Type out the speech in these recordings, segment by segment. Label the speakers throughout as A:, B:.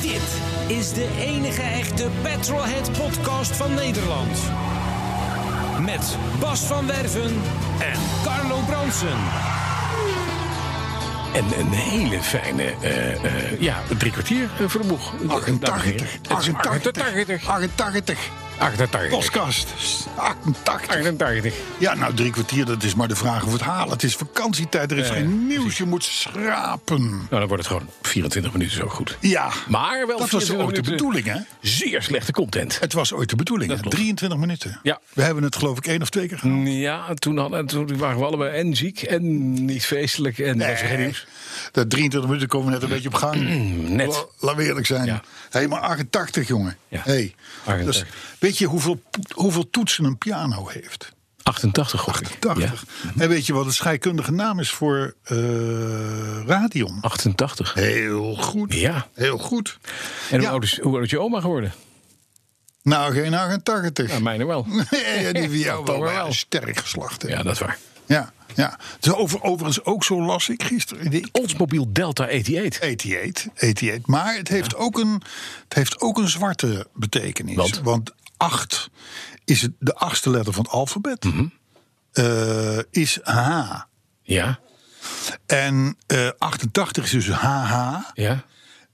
A: Dit is de enige echte Petrolhead podcast van Nederland. Met Bas van Werven en Carlo Bronsen.
B: En een hele fijne, eh, eh, ja, drie kwartier eh, voor de boeg. Dames en heren.
C: 88,
B: Het is
C: 88,
B: 88.
C: 88.
B: 88.
C: Postkast, 88.
B: 88.
C: Ja, nou, drie kwartier, dat is maar de vraag of het halen. Het is vakantietijd, er is
B: Ja,
C: geen nieuws, je moet schrapen.
B: Nou, dan wordt het gewoon 24 minuten zo goed.
C: Ja,
B: Maar wel
C: dat was
B: 24
C: ooit de
B: minuten.
C: bedoeling, hè?
B: Zeer slechte content.
C: Het was ooit de bedoeling,
B: Dat
C: hè?
B: klopt.
C: 23 minuten.
B: Ja.
C: We hebben het geloof ik één of twee keer gedaan.
B: Mm, Ja, toen, hadden, toen waren we allebei en ziek en niet feestelijk en was er geen nieuws.
C: Dat 23 minuten komen we net een beetje op gang.
B: Net.
C: La- Laten we eerlijk zijn.
B: Ja.
C: hey, maar 88, jongen.
B: Ja,
C: Hey.
B: 88.
C: Dus, weet je hoeveel, hoeveel toetsen een piano heeft?
B: 88 hoor ik.
C: 88.
B: Ja.
C: En weet je wat de scheikundige naam is voor eh radion?
B: 88.
C: Heel goed.
B: Ja.
C: Heel goed.
B: En hoe,
C: Ja.
B: oud is, hoe oud is je oma geworden?
C: Nou, geen 88.
B: Nou, mijne wel.
C: ja, die van jou wel.
B: Toch
C: maar
B: wel.
C: ja, Sterk geslacht. hè.
B: Ja, dat is waar.
C: ja. ja. Dus over, overigens ook zo las ik gisteren. E in de
B: Ons mobiel Delta 88.
C: 88, 88. Maar het heeft, ook een, het heeft ook een zwarte betekenis.
B: Want?
C: 8 is het, de achtste letter van het alfabet.
B: Mhm.
C: Eh, is H.
B: Ja,
C: En eh, 88 is dus HH.
B: ja.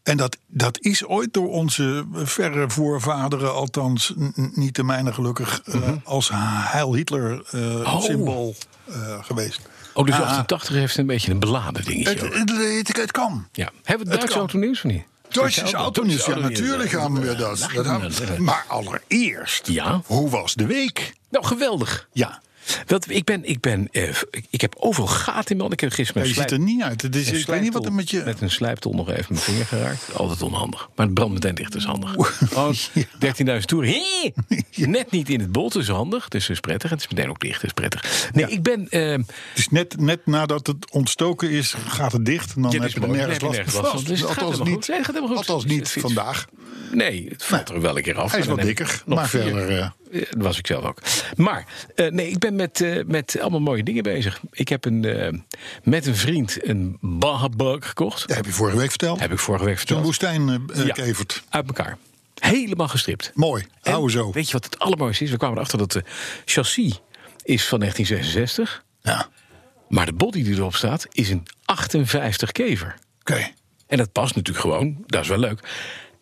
C: En dat, dat is ooit door onze verre voorvaderen, althans n- n- niet de mijne gelukkig, eh,
B: Mhm.
C: als Heil Hitler eh, symbool eh, geweest.
B: Oh, dus
C: Ah,
B: 88 heeft een beetje een beladen dingetje.
C: Het,
B: ook.
C: het, het, het kan.
B: ja. Hebben we het Duitse
C: kan.
B: autonieuws of niet?
C: Deutsche
B: Duitse
C: autonieuws, dus ja,
B: Duitse autonieuws,
C: natuurlijk
B: ja.
C: gaan we dat.
B: Ja,
C: dat gaan
B: ja,
C: we.
B: ja.
C: Maar allereerst,
B: Ja.
C: hoe was de week?
B: Nou, geweldig.
C: Ja,
B: Dat, ik, ben, ik, ben, eh, f- ik- ik heb overal gaten in mijn hand. Ik heb gisteren mijn
C: ja je ziet er
B: slijp-
C: niet uit. Het is,
B: mijn
C: ik weet niet wat er met
B: slijptol-
C: je...
B: Met een slijptol nog even mijn vinger geraakt. Altijd onhandig. Maar het brandt meteen dicht, dat is handig. Oh, 13.000 toeren. Hé! Net niet in het bol, dat is handig. Dus dat is prettig. Het is meteen ook dicht, dat is prettig. Nee, ik ben... ehm,
C: Het is net, net nadat het ontstoken is, gaat het dicht. En dan
B: Ja,
C: heb
B: dus
C: je er
B: dan
C: nergens
B: heb je
C: last
B: nergens
C: van.
B: last van. Dus het gaat
C: althans
B: helemaal
C: niet,
B: goed. Nee, het gaat helemaal goed.
C: althans
B: Het is-
C: niet
B: het is-
C: vandaag.
B: Nee, het valt er wel een keer af.
C: Nou, Hij is
B: maar
C: wat
B: dan heb ik
C: dikker,
B: nog
C: maar
B: vier.
C: verder, eh.
B: Eh, Dat was ik zelf ook. Maar eh, nee, ik ben met, eh, met allemaal mooie dingen bezig. Ik heb een, eh, met een vriend een Baja Bug gekocht.
C: Dat heb je vorige week verteld.
B: Heb ik vorige week
C: Zo'n
B: verteld.
C: woestijn eh, eh,
B: Ja.
C: kevert.
B: Uit elkaar. Helemaal gestript.
C: Mooi,
B: En
C: houden zo.
B: Weet je wat het allermooiste is? We kwamen erachter dat de chassis is van 1966.
C: Ja,
B: Maar de body die erop staat is een 58 kever.
C: oké. Nou,
B: En dat past natuurlijk gewoon. Dat is wel leuk.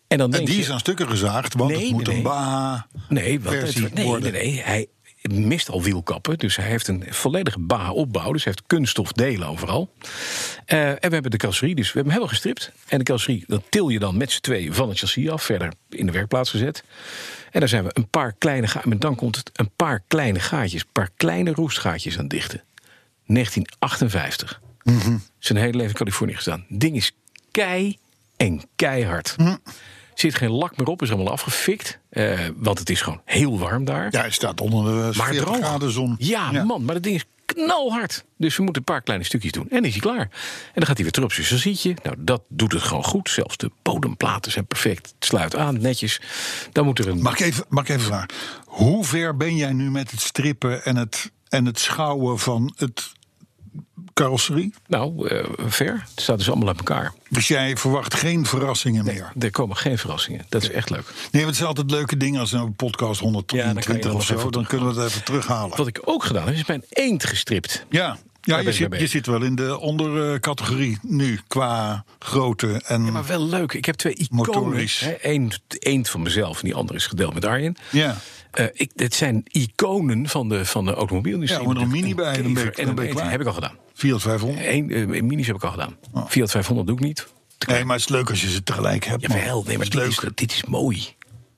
B: En, dan
C: En
B: denk
C: die
B: je,
C: is aan stukken gezaagd, want
B: Nee,
C: het moet
B: nee,
C: een
B: nee.
C: Baha.
B: Nee, want het
C: versie
B: wordt- nee, nee,
C: worden.
B: nee, hij mist al wielkappen. Dus hij heeft een volledige BA-opbouw. Dus hij heeft kunststofdelen overal. Eh, en we hebben de carrosserie, dus we hebben hem helemaal gestript. En de carrosserie, dat til je dan met z'n tweeën van het chassis af. Verder in de werkplaats gezet. En daar zijn we een paar kleine gaatjes. En dan komt het een paar kleine gaatjes. Een paar kleine roestgaatjes aan dichten. 1958.
C: Mhm.
B: Zijn hele leven in Californië gestaan. Ding is kei en keihard.
C: Mhm.
B: Zit geen lak meer op, is allemaal afgefikt. eh, want het is gewoon heel warm daar.
C: Ja, hij staat onder de
B: maar
C: 40
B: droog.
C: graden zon.
B: Ja, man, maar dat ding is knalhard. Dus we moeten een paar kleine stukjes doen. En dan is hij klaar. En dan gaat hij weer terug op zijn chassietje. Nou, dat doet het gewoon goed. Zelfs de bodemplaten zijn perfect. Het sluit aan, netjes. Dan moet er een...
C: Mag ik even, mag ik even vragen? Hoe ver ben jij nu met het strippen en het, en het schouwen van het carrosserie?
B: Nou, eh, ver. Het staat dus allemaal uit elkaar.
C: Dus jij verwacht geen verrassingen meer?
B: Er komen geen verrassingen. Dat is echt leuk.
C: Nee, want het zijn altijd leuke dingen als een podcast
B: Ja, dan kan je
C: 120
B: dat
C: of
B: nog
C: zo.
B: even
C: Dan kunnen we het even terughalen.
B: Wat ik ook gedaan heb, is mijn eend gestript.
C: Ja, ja
B: ben
C: je,
B: ik mee
C: zit, je
B: bezig.
C: zit wel in de ondercategorie nu qua grootte. En,
B: Maar wel leuk. Ik heb twee iconen.
C: Motorisch.
B: Eén eend van mezelf en die andere is gedeeld met Arjen.
C: ja.
B: Eh, ik, dit zijn iconen van de, van de automobielindustrie.
C: Ja, maar er een
B: Met
C: mini bij, dan ben
B: kever
C: je- dan
B: en een
C: ben je
B: eend.
C: klaar.
B: Heb ik al gedaan.
C: Fiat 500.
B: Eén eh, minis heb ik al gedaan.
C: Oh.
B: Fiat 500 doe ik niet.
C: Nee, maar het Oh, is leuk als je ze tegelijk hebt. man.
B: Jawel, nee, maar
C: Het is
B: dit
C: leuk.
B: is, dit is mooi.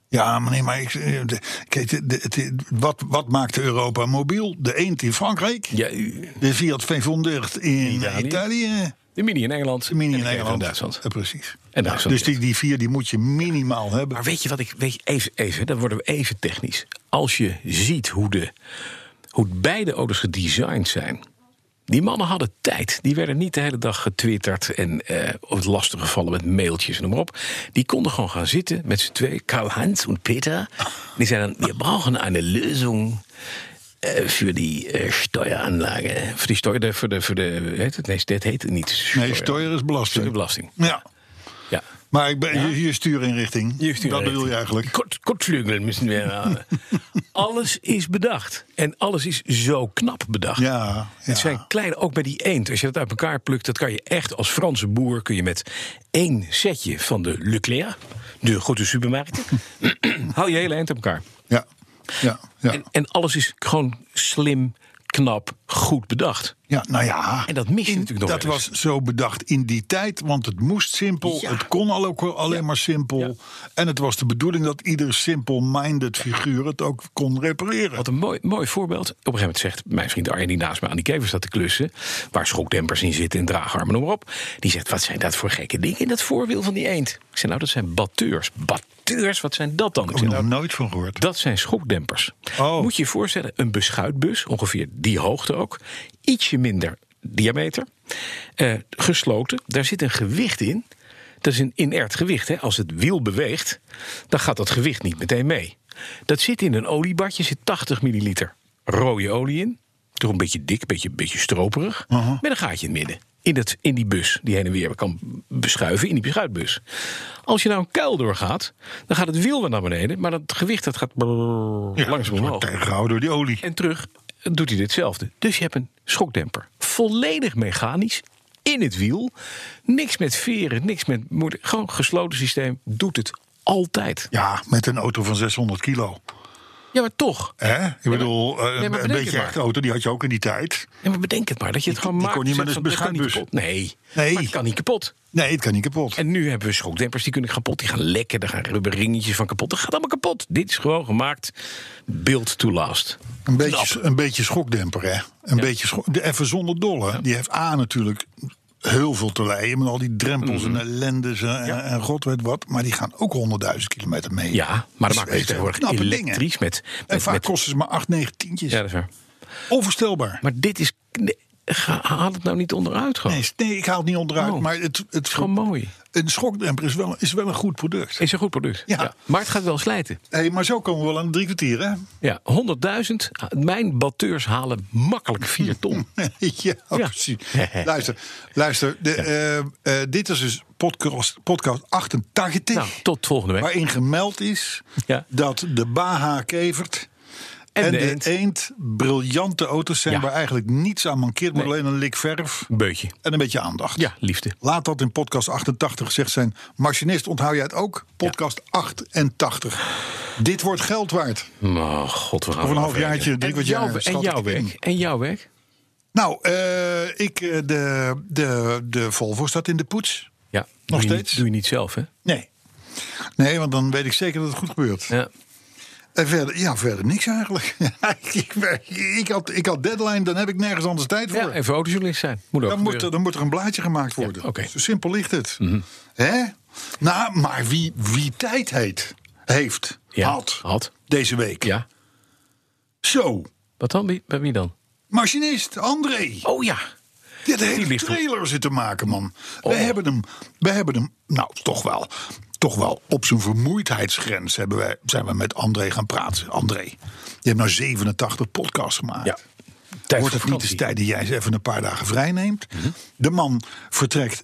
C: Ja, meneer, maar ik, eh, de- kijk, de- de- het- wat, wat maakte Europa mobiel? De eend in Frankrijk,
B: Ja, u-
C: de Fiat 500 in
B: Italië.
C: Italië,
B: de Mini in Engeland.
C: de Mini
B: en de
C: in
B: Kever
C: Nederland.
B: in Duitsland.
C: Ja, precies.
B: En Duitsland,
C: dus die, die vier die moet je minimaal hebben.
B: Maar weet je wat ik. Weet je, even, even, dan worden we even technisch. Als je ziet hoe, de, hoe beide auto's gedesigned zijn. Die mannen hadden tijd. Die werden niet de hele dag getwitterd en eh of lastig gevallen met mailtjes en noem maar op. Die konden gewoon gaan zitten met z'n twee, Karl-Heinz en Peter. Die zeiden dan: We brauchen eine Lösung. eh, Voor die eh, steueraanlage. Voor die steuer. de- Voor de, voor de, hoe heet het? Nee, dat heet het niet.
C: Nee, steuer is belasting.
B: Belasting.
C: Ja,
B: Ja.
C: maar ik ben, je, je stuurinrichting. dat bedoel je
B: Richting.
C: eigenlijk.
B: Kort, kortvleugel müssen we halen. eh, alles is bedacht. En alles is zo knap bedacht.
C: Ja, ja.
B: Het zijn kleine, ook bij die eend. Als je dat uit elkaar plukt, dat kan je echt als Franse boer... kun je met één setje van de Leclerc, de grote supermarkt... hou je hele eend uit elkaar.
C: Ja, ja, ja.
B: En, en alles is gewoon slim, knap, goed bedacht.
C: ja, nou ja.
B: En dat mis je
C: In-
B: natuurlijk nog
C: Dat
B: wel eens.
C: was zo bedacht in die tijd, want het moest simpel.
B: Ja.
C: Het kon al ook wel alleen maar simpel. En het was de bedoeling dat ieder simple-minded figuur het ook kon repareren.
B: Wat een mooi, mooi voorbeeld. Op een gegeven moment zegt mijn vriend Arjen, die naast me aan die kever staat te klussen. waar schokdempers in zitten en draagarmen, noem maar op. Die zegt: Wat zijn dat voor gekke dingen in dat voorwiel van die eend? Ik zeg: Nou, dat zijn batteurs. Batteurs, wat zijn dat dan? Ik
C: Ook
B: zeg,
C: nog
B: nou,
C: nooit van gehoord.
B: dat zijn schokdempers.
C: Oh.
B: Moet je je voorstellen, een beschuitbus, ongeveer die hoogte ook, ietsje minder diameter, eh, gesloten. Daar zit een gewicht in. Dat is een inert gewicht. Hè? Als het wiel beweegt, dan gaat dat gewicht niet meteen mee. Dat zit in een oliebadje, zit 80 milliliter rode olie in. Toch een beetje dik, een beetje, beetje stroperig. Met een gaatje in het midden. In, dat, in die bus die heen en weer kan beschuiven, in die beschuitbus. Als je nou een kuil doorgaat, dan gaat het wiel weer naar beneden. Maar dat gewicht dat gaat brrrr langzaam omhoog.
C: Tegengehouden door die olie.
B: En terug doet hij ditzelfde. Dus je hebt een schokdemper. Volledig mechanisch. In het wiel. Niks met veren, niks met moeder. Gewoon gesloten systeem. Doet het altijd.
C: Ja, met een auto van 600 kilo.
B: Ja, maar toch.
C: Hè? Ik bedoel, eh,
B: maar
C: een
B: bedenk het
C: beetje
B: maar.
C: echte auto, die had je ook in die tijd.
B: Ja, maar bedenk het maar. Dat je het
C: Die-
B: gewoon
C: die
B: maakt.
C: kon
B: Zegt
C: niet met een
B: van, dat kan niet
C: beschuitbus.
B: kapot. Nee.
C: Nee.
B: Maar het kan niet kapot.
C: Nee, het kan niet kapot.
B: En nu hebben we schokdempers die kunnen kapot. Die gaan lekken. Daar gaan rubberingetjes van kapot. Dat gaat allemaal kapot. Dit is gewoon gemaakt. Build to last.
C: Een
B: Knap.
C: beetje, een beetje schokdemper, hè? Een beetje schok, de- even zonder dolle. Die heeft A natuurlijk heel veel te lijden met al die drempels
B: Mhm.
C: en ellendes en, en god weet wat. Maar die gaan ook 100.000 kilometer mee.
B: Ja, maar dat
C: Dus
B: maakt het
C: weet je,
B: tegenwoordig
C: knappe dingen.
B: elektrisch. Met,
C: En
B: met,
C: vaak
B: met-
C: kosten ze maar 8, 9 tientjes.
B: Ja, dat is waar.
C: Onvoorstelbaar.
B: Maar dit is. nee, ga- haal het nou niet onderuit gewoon.
C: Nee, s- nee, ik haal het niet onderuit.
B: Oh.
C: Maar het, het,
B: Gewoon mooi.
C: een schokdemper is wel, is wel een goed product.
B: Is een goed product.
C: Ja.
B: Maar het gaat wel slijten.
C: Hey, maar zo komen we wel aan de drie kwartier, hè?
B: Ja, 100.000. Mijn batteurs halen makkelijk 4 ton.
C: Hm. ja, precies. luister, luister de, eh, eh, dit is dus podcast, podcast 88.
B: nou, tot volgende week.
C: Waarin gemeld is
B: Ja.
C: dat de Baha Kevert en, de, eend. briljante auto's zijn...
B: Ja.
C: waar eigenlijk niets aan mankeert, maar
B: Nee.
C: alleen een lik verf
B: Een beutje.
C: en een beetje aandacht.
B: Ja, liefde.
C: Laat dat in podcast 88 gezegd zijn. Machinist, onthoud jij het ook? Podcast 88. Dit wordt geld waard.
B: Oh, god, we gaan
C: Over een
B: wel
C: halfjaartje,
B: afrekenen.
C: drie
B: En
C: kwart jaar,
B: jouw- En
C: schat
B: jouw
C: ik in.
B: werk. En jouw werk.
C: Nou, eh, ik, eh, de, de, de Volvo staat in de poets.
B: Ja, nog
C: steeds?
B: doe je niet zelf, hè?
C: Nee. Nee, want dan weet ik zeker dat het goed gebeurt.
B: Ja.
C: En verder, ja, verder niks eigenlijk. ik, ik, had, ik had deadline, dan heb ik nergens anders tijd voor.
B: ja, even autojournalist zijn. Moet ook
C: dan, moet er,
B: gebeuren.
C: dan moet er een blaadje gemaakt worden.
B: Ja, oké. Mhm.
C: Zo simpel ligt het. Hè? Nou, maar wie, wie tijd heet, heeft,
B: Ja,
C: had,
B: had.
C: deze week.
B: Ja.
C: Zo,
B: Wat dan? Wie, bij wie dan?
C: machinist André.
B: Oh ja.
C: Die had een hele
B: ligt er-
C: trailer zitten maken, man.
B: Oh.
C: Wij hebben hem, wij hebben hem, nou toch wel, toch wel op zijn vermoeidheidsgrens hebben wij, zijn we met André gaan praten. André, je hebt nou 87 podcasts gemaakt.
B: Ja. Tijd voor
C: Wordt het niet eens
B: vakantie.
C: tijd dat jij eens even een paar dagen vrij neemt? De man vertrekt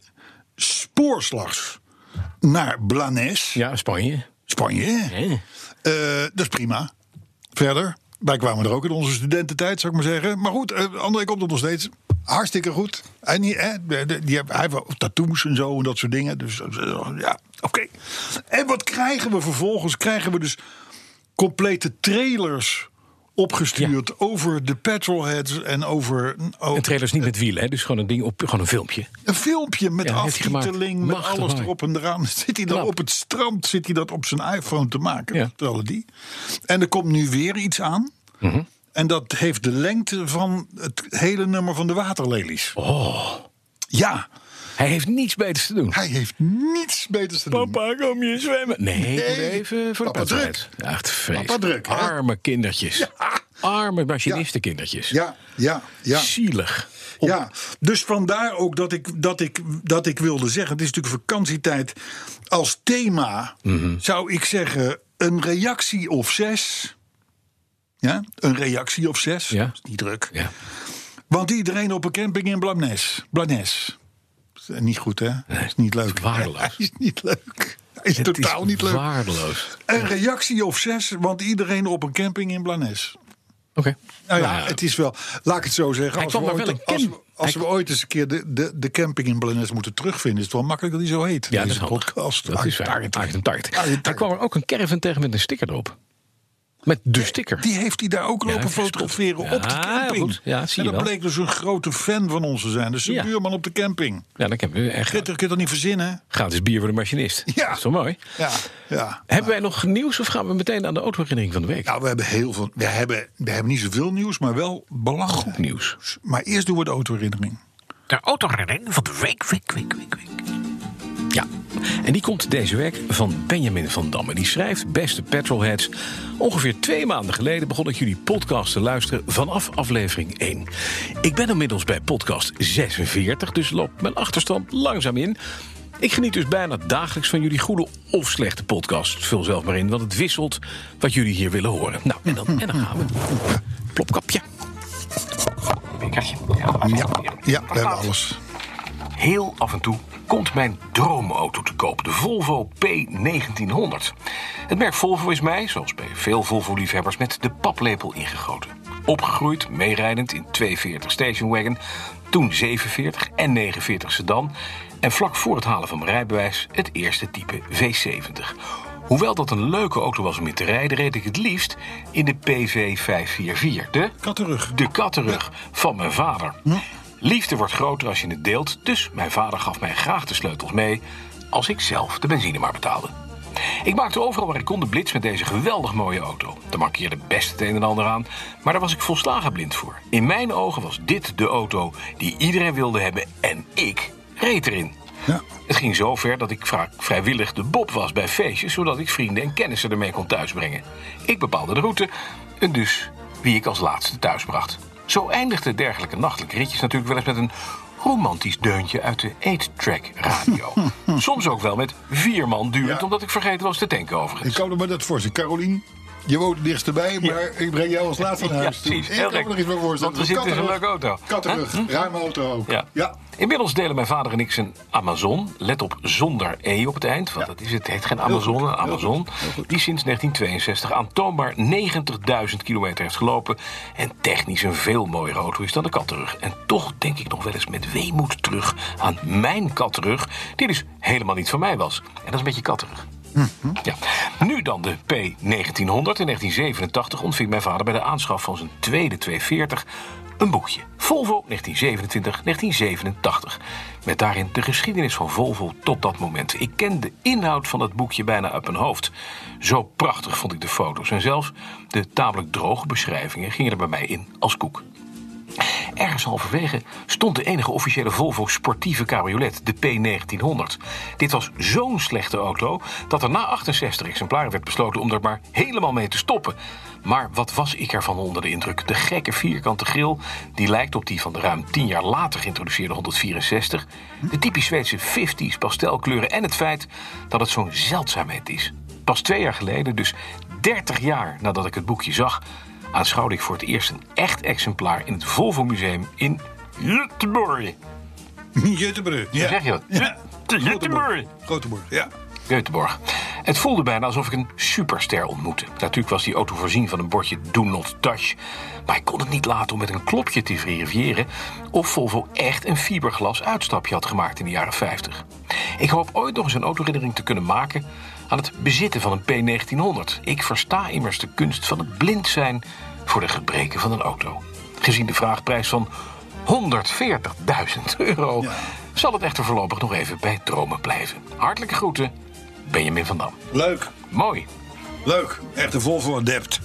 C: spoorslags naar Blanes,
B: Ja, Spanje.
C: Spanje.
B: Hè?
C: Eh, dat is prima. Verder, wij kwamen er ook in onze studententijd, zou ik maar zeggen. Maar goed, eh, André komt het nog steeds. Hartstikke goed. En die, eh, de- de- die, heb- hij heeft wel tattoos en zo en dat soort dingen. Dus eh, ja, oké. En wat krijgen we vervolgens? Krijgen we dus complete trailers opgestuurd over de petrolheads en over... over
B: Een trailer is niet met wielen, hè? dus gewoon een ding op, gewoon een filmpje.
C: Een filmpje met
B: Ja, heeft hij gemaakt.
C: aftiteling, met
B: Machtig
C: alles
B: mooi.
C: erop en eraan. Zit hij dan
B: Knap.
C: op het strand, zit hij dat op zijn iPhone te maken,
B: Ja.
C: vertelde die. En er komt nu weer iets aan.
B: Mhm.
C: En dat heeft de lengte van het hele nummer van de waterlelies. Oh. Ja,
B: Hij heeft niets beters te doen.
C: hij heeft niets beters te doen.
B: Papa, kom je zwemmen? Nee, ik moet even voor de
C: Papa
B: petrolhead. Ja, echt vreselijk.
C: Papa druk, hè?
B: Arme kindertjes. Arme machinistenkindertjes.
C: Ja, ja, ja.
B: Zielig.
C: Ja, dus vandaar ook dat ik, dat, ik, dat ik wilde zeggen: het is natuurlijk vakantietijd. Als thema
B: Mhm.
C: zou ik zeggen: een reactie of zes. Ja, een reactie of zes.
B: Ja.
C: Dat is niet druk.
B: Ja.
C: Want iedereen op een camping in Blanes. Blanes. Dat is eh, Niet goed, hè? dat is niet leuk.
B: het is waardeloos.
C: Hij is niet leuk. Hij is
B: Het
C: totaal
B: is
C: niet leuk.
B: waardeloos.
C: Een reactie of zes, want iedereen op een camping in Blanes.
B: Oké.
C: Nou ja,
B: Nou ja.
C: het is wel, laat ik het zo zeggen.
B: Hij
C: als
B: kwam
C: we
B: daar wel
C: ooit,
B: een
C: als,
B: camp-
C: we, als
B: hij-
C: we ooit eens een keer de, de, de camping in Belenes moeten terugvinden, is het wel makkelijk dat hij zo heet.
B: Ja, dat is
C: deze
B: handig.
C: podcast.
B: Dat is waar.
C: Architect.
B: Aard en tart.
C: Aard en tart.
B: Daar kwam er ook een caravan tegen met een sticker erop. Met de sticker.
C: Die heeft hij daar ook
B: Ja,
C: lopen
B: dat is goed.
C: fotograferen
B: Ja,
C: op de camping.
B: goed. Ja, zie je
C: en dat
B: wel.
C: bleek dus een grote fan van ons te zijn. Dus een
B: Ja.
C: buurman op de camping.
B: Ja, dan hebben we echt
C: Gitter, kun je dat niet verzinnen?
B: gratis bier voor de machinist.
C: Ja.
B: Dat is wel mooi.
C: Ja, ja.
B: Hebben wij nog nieuws of gaan we meteen aan de autoherinnering van de week?
C: Nou, we hebben heel veel. We hebben, we hebben niet zoveel nieuws, maar wel belangrijk.
B: Nieuws.
C: nieuws. Maar eerst doen we de autoherinnering.
D: De autoherinnering van de week, week, week, week, week.
B: Ja, en die komt deze week van Benjamin van Damme. Die schrijft, beste petrolheads... ongeveer twee maanden geleden begon ik jullie podcast te luisteren... vanaf aflevering 1. Ik ben inmiddels bij podcast 46, dus loopt mijn achterstand langzaam in... Ik geniet dus bijna dagelijks van jullie goede of slechte podcast. Vul zelf maar in, want het wisselt wat jullie hier willen horen. Nou, en dan, en dan gaan we. Plopkapje.
C: Ja, ja we hebben alles.
B: Heel af en toe komt mijn droomauto te koop, de Volvo P1900. Het merk Volvo is mij, zoals bij veel Volvo-liefhebbers, met de paplepel ingegoten. Opgegroeid, meerijdend in 240 station wagon, toen 47 en 49 sedan... en vlak voor het halen van mijn rijbewijs het eerste type V70. Hoewel dat een leuke auto was om in te rijden, reed ik het liefst in de PV544. De
C: Kattenrug.
B: De kattenrug van mijn vader. Liefde wordt groter als je het deelt, dus mijn vader gaf mij graag de sleutels mee als ik zelf de benzine maar betaalde. Ik maakte overal waar ik kon de blits met deze geweldig mooie auto. Er mankeerde best het een en ander aan, maar daar was ik volslagen blind voor. In mijn ogen was dit de auto die iedereen wilde hebben en ik reed erin.
C: Ja.
B: Het ging zo ver dat ik vaak vrijwillig de Bob was bij feestjes, zodat ik vrienden en kennissen ermee kon thuisbrengen. Ik bepaalde de route en dus wie ik als laatste thuisbracht. Zo eindigden dergelijke nachtelijke ritjes natuurlijk wel eens met een romantisch deuntje uit de 8-track radio. Soms ook wel met vier man duwend,
C: Ja.
B: omdat ik vergeten was te tanken overigens.
C: Ik kan me dat voorstellen. Carolien, je woont het dichtst erbij, maar ik breng jou als laatste naar
B: Ja,
C: huis. toe.
B: precies.
C: ik
B: Heel
C: kan me
B: gek.
C: nog iets bij voorstellen.
B: Want we zitten in een
C: Kattenrug.
B: leuke auto.
C: Kattenrug, ruime auto ook.
B: Ja. Inmiddels delen mijn vader en ik zijn Amazon. Let op, zonder E op het eind. Want dat is het. Het heet geen Amazon,
C: goed,
B: een
C: heel
B: Amazon.
C: goed, heel goed.
B: Die sinds 1962 aantoonbaar 90.000 kilometer heeft gelopen. En technisch een veel mooiere auto is dan de kattenrug. En toch denk ik nog wel eens met weemoed terug aan mijn kattenrug. Die dus helemaal niet van mij was. En dat is een beetje kattenrug. Ja. Nu dan de P1900. In 1987 ontving mijn vader bij de aanschaf van zijn tweede 240 een boekje. Volvo 1927-1987. Met daarin de geschiedenis van Volvo tot dat moment. Ik ken de inhoud van dat boekje bijna uit mijn hoofd. Zo prachtig vond ik de foto's. En zelfs de tamelijk droge beschrijvingen gingen er bij mij in als koek. Ergens halverwege stond de enige officiële Volvo sportieve cabriolet, de P1900. Dit was zo'n slechte auto dat er na 68 exemplaren werd besloten om er maar helemaal mee te stoppen. Maar wat was ik ervan onder de indruk? De gekke vierkante grill, die lijkt op die van de ruim 10 jaar later geïntroduceerde 164. De typisch Zweedse 50s pastelkleuren en het feit dat het zo'n zeldzaamheid is. Pas twee jaar geleden, dus 30 jaar nadat ik het boekje zag, aanschouwde ik voor het eerst een echt exemplaar in het Volvo Museum in Göteborg.
C: Juttebrug.
B: Hoe zeg je dat?
C: Ja.
B: Jut- Juttebrug.
C: Groteborg, ja.
B: Göteborg. Het voelde bijna alsof ik een superster ontmoette. Natuurlijk was die auto voorzien van een bordje Do Not Touch. Maar ik kon het niet laten om met een klopje te verifiëren... of Volvo echt een fiberglas uitstapje had gemaakt in de jaren 50. Ik hoop ooit nog eens een autoherinnering te kunnen maken... aan het bezitten van een P1900. Ik versta immers de kunst van het blind zijn
D: voor de gebreken van een auto. Gezien de vraagprijs van 140.000 euro zal het echter voorlopig nog even bij dromen blijven. Hartelijke groeten, Benjamin van Dam.
C: Leuk,
D: Mooi.
C: leuk. Echt een Volvo Adept.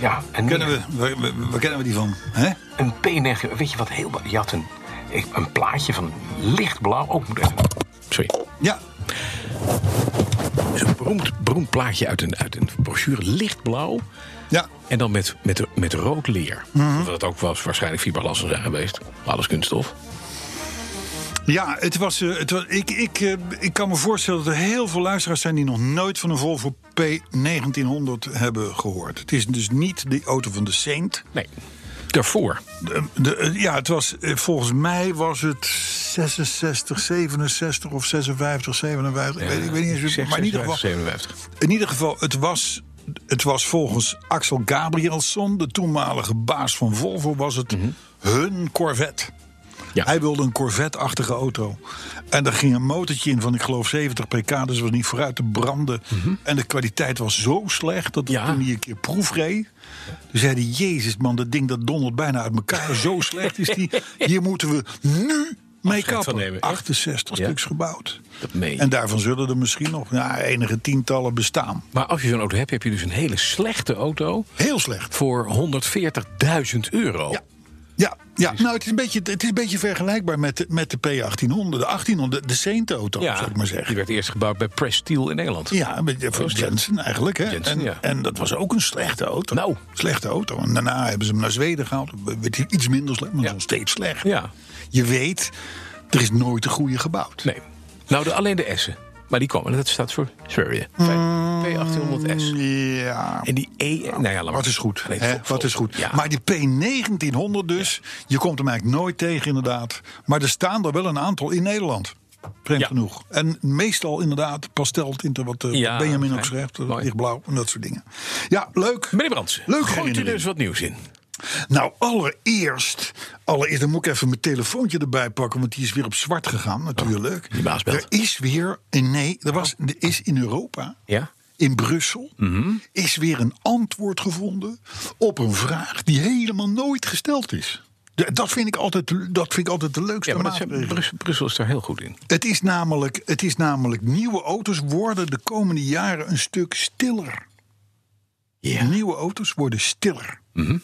D: Ja, en
C: Kennen
D: meer.
C: we, waar, waar- waar kennen we die van? Hè?
D: Een P9, weet je wat heel... Je had een, een plaatje van lichtblauw... Oh, ik moet even...
B: Sorry.
C: Ja,
B: Het is een beroemd, beroemd plaatje uit een, uit een brochure, lichtblauw.
C: ja.
B: En dan met, met, met rood leer.
C: Mhm.
B: Wat ook was, waarschijnlijk fiberglas zou zijn geweest. Alles kunststof.
C: ja het was, eh, het was, ik, ik, eh, ik kan me voorstellen dat er heel veel luisteraars zijn... die nog nooit van een Volvo P1900 hebben gehoord. Het is dus niet de auto van de Saint.
B: Nee. Daarvoor.
C: De- de- eh, ja, het was, eh, volgens mij was het 66, 67 of 56, 57. ik, weet, ik weet niet eens. hoe- Maar in ieder geval,
B: 57.
C: in ieder geval het, was, het was volgens Axel Gabrielsson, de toenmalige baas van Volvo, was het hun Corvette.
B: Ja.
C: Hij wilde een Corvette-achtige auto. En daar ging een motortje in van, ik geloof, 70 pk. Dus het was niet vooruit te branden. En de kwaliteit was zo slecht dat
B: Mhm. Ja.
C: toen hij een keer proefreed... Toen zei hij, jezus man, dat ding dat dondert bijna uit elkaar. zo slecht is die. Hier moeten we nu mee
B: van
C: kappen.
B: nemen, echt?
C: 68
B: Ja.
C: stuks gebouwd.
B: Dat meen je.
C: En daarvan zullen er misschien nog ja, enige tientallen bestaan.
B: Maar als je zo'n auto hebt, heb je dus een hele slechte auto
C: Heel slecht.
B: voor 140.000 euro.
C: Ja. Ja, ja. nou het is een beetje, het is een beetje vergelijkbaar met de, met de P1800. De 1800, de Saint-auto, zou ik maar zeggen.
B: Die werd eerst gebouwd bij Press Steel in Engeland.
C: Ja, een beetje voor
B: Oh, ja.
C: Jensen eigenlijk. Hè?
B: Jensen,
C: en,
B: ja.
C: en dat was ook een slechte auto.
B: Nou.
C: Slechte auto. En daarna hebben ze hem naar Zweden gehaald. Werd hij iets minder slecht, maar
B: Ja.
C: nog steeds slecht.
B: Ja.
C: Je weet, er is nooit een goede gebouwd.
B: Nee. Nou, de, alleen de S'en. Maar die kwam, en dat staat voor Sverige. P800S.
C: Ja,
B: En die E... Nou ja, laat maar.
C: Mm. wat is goed.
B: Nee,
C: hè?
B: vol-
C: Wat is goed.
B: Ja.
C: Maar die P1900 dus, je komt hem eigenlijk nooit tegen inderdaad. Maar er staan er wel een aantal in Nederland. Vreemd
B: Ja.
C: genoeg. En meestal inderdaad pasteltinten, wat eh,
B: Ja,
C: Benjamin ook
B: fijn.
C: schrijft. eh,
B: Mooi.
C: Lichtblauw en dat soort dingen. Ja, leuk.
B: Meneer Brands,
C: Leuk
B: gooit u
C: herinnering.
B: dus wat nieuws in.
C: Nou, allereerst, allereerst, dan moet ik even mijn telefoontje erbij pakken, want die is weer op zwart gegaan natuurlijk.
B: Oh, die baas belt.
C: er is weer, een- nee, er, was, er is in Europa,
B: Ja? Mhm.
C: in Brussel, is weer een antwoord gevonden op een vraag die helemaal nooit gesteld is. De- Dat vind ik altijd, dat vind ik altijd de leukste
B: Ja, maar dat zijn-
C: maatregel.
B: Brus- Brussel is daar heel goed in.
C: Het is, namelijk, het is namelijk, nieuwe auto's worden de komende jaren een stuk stiller. Nieuwe auto's worden stiller. ja.
B: Mhm.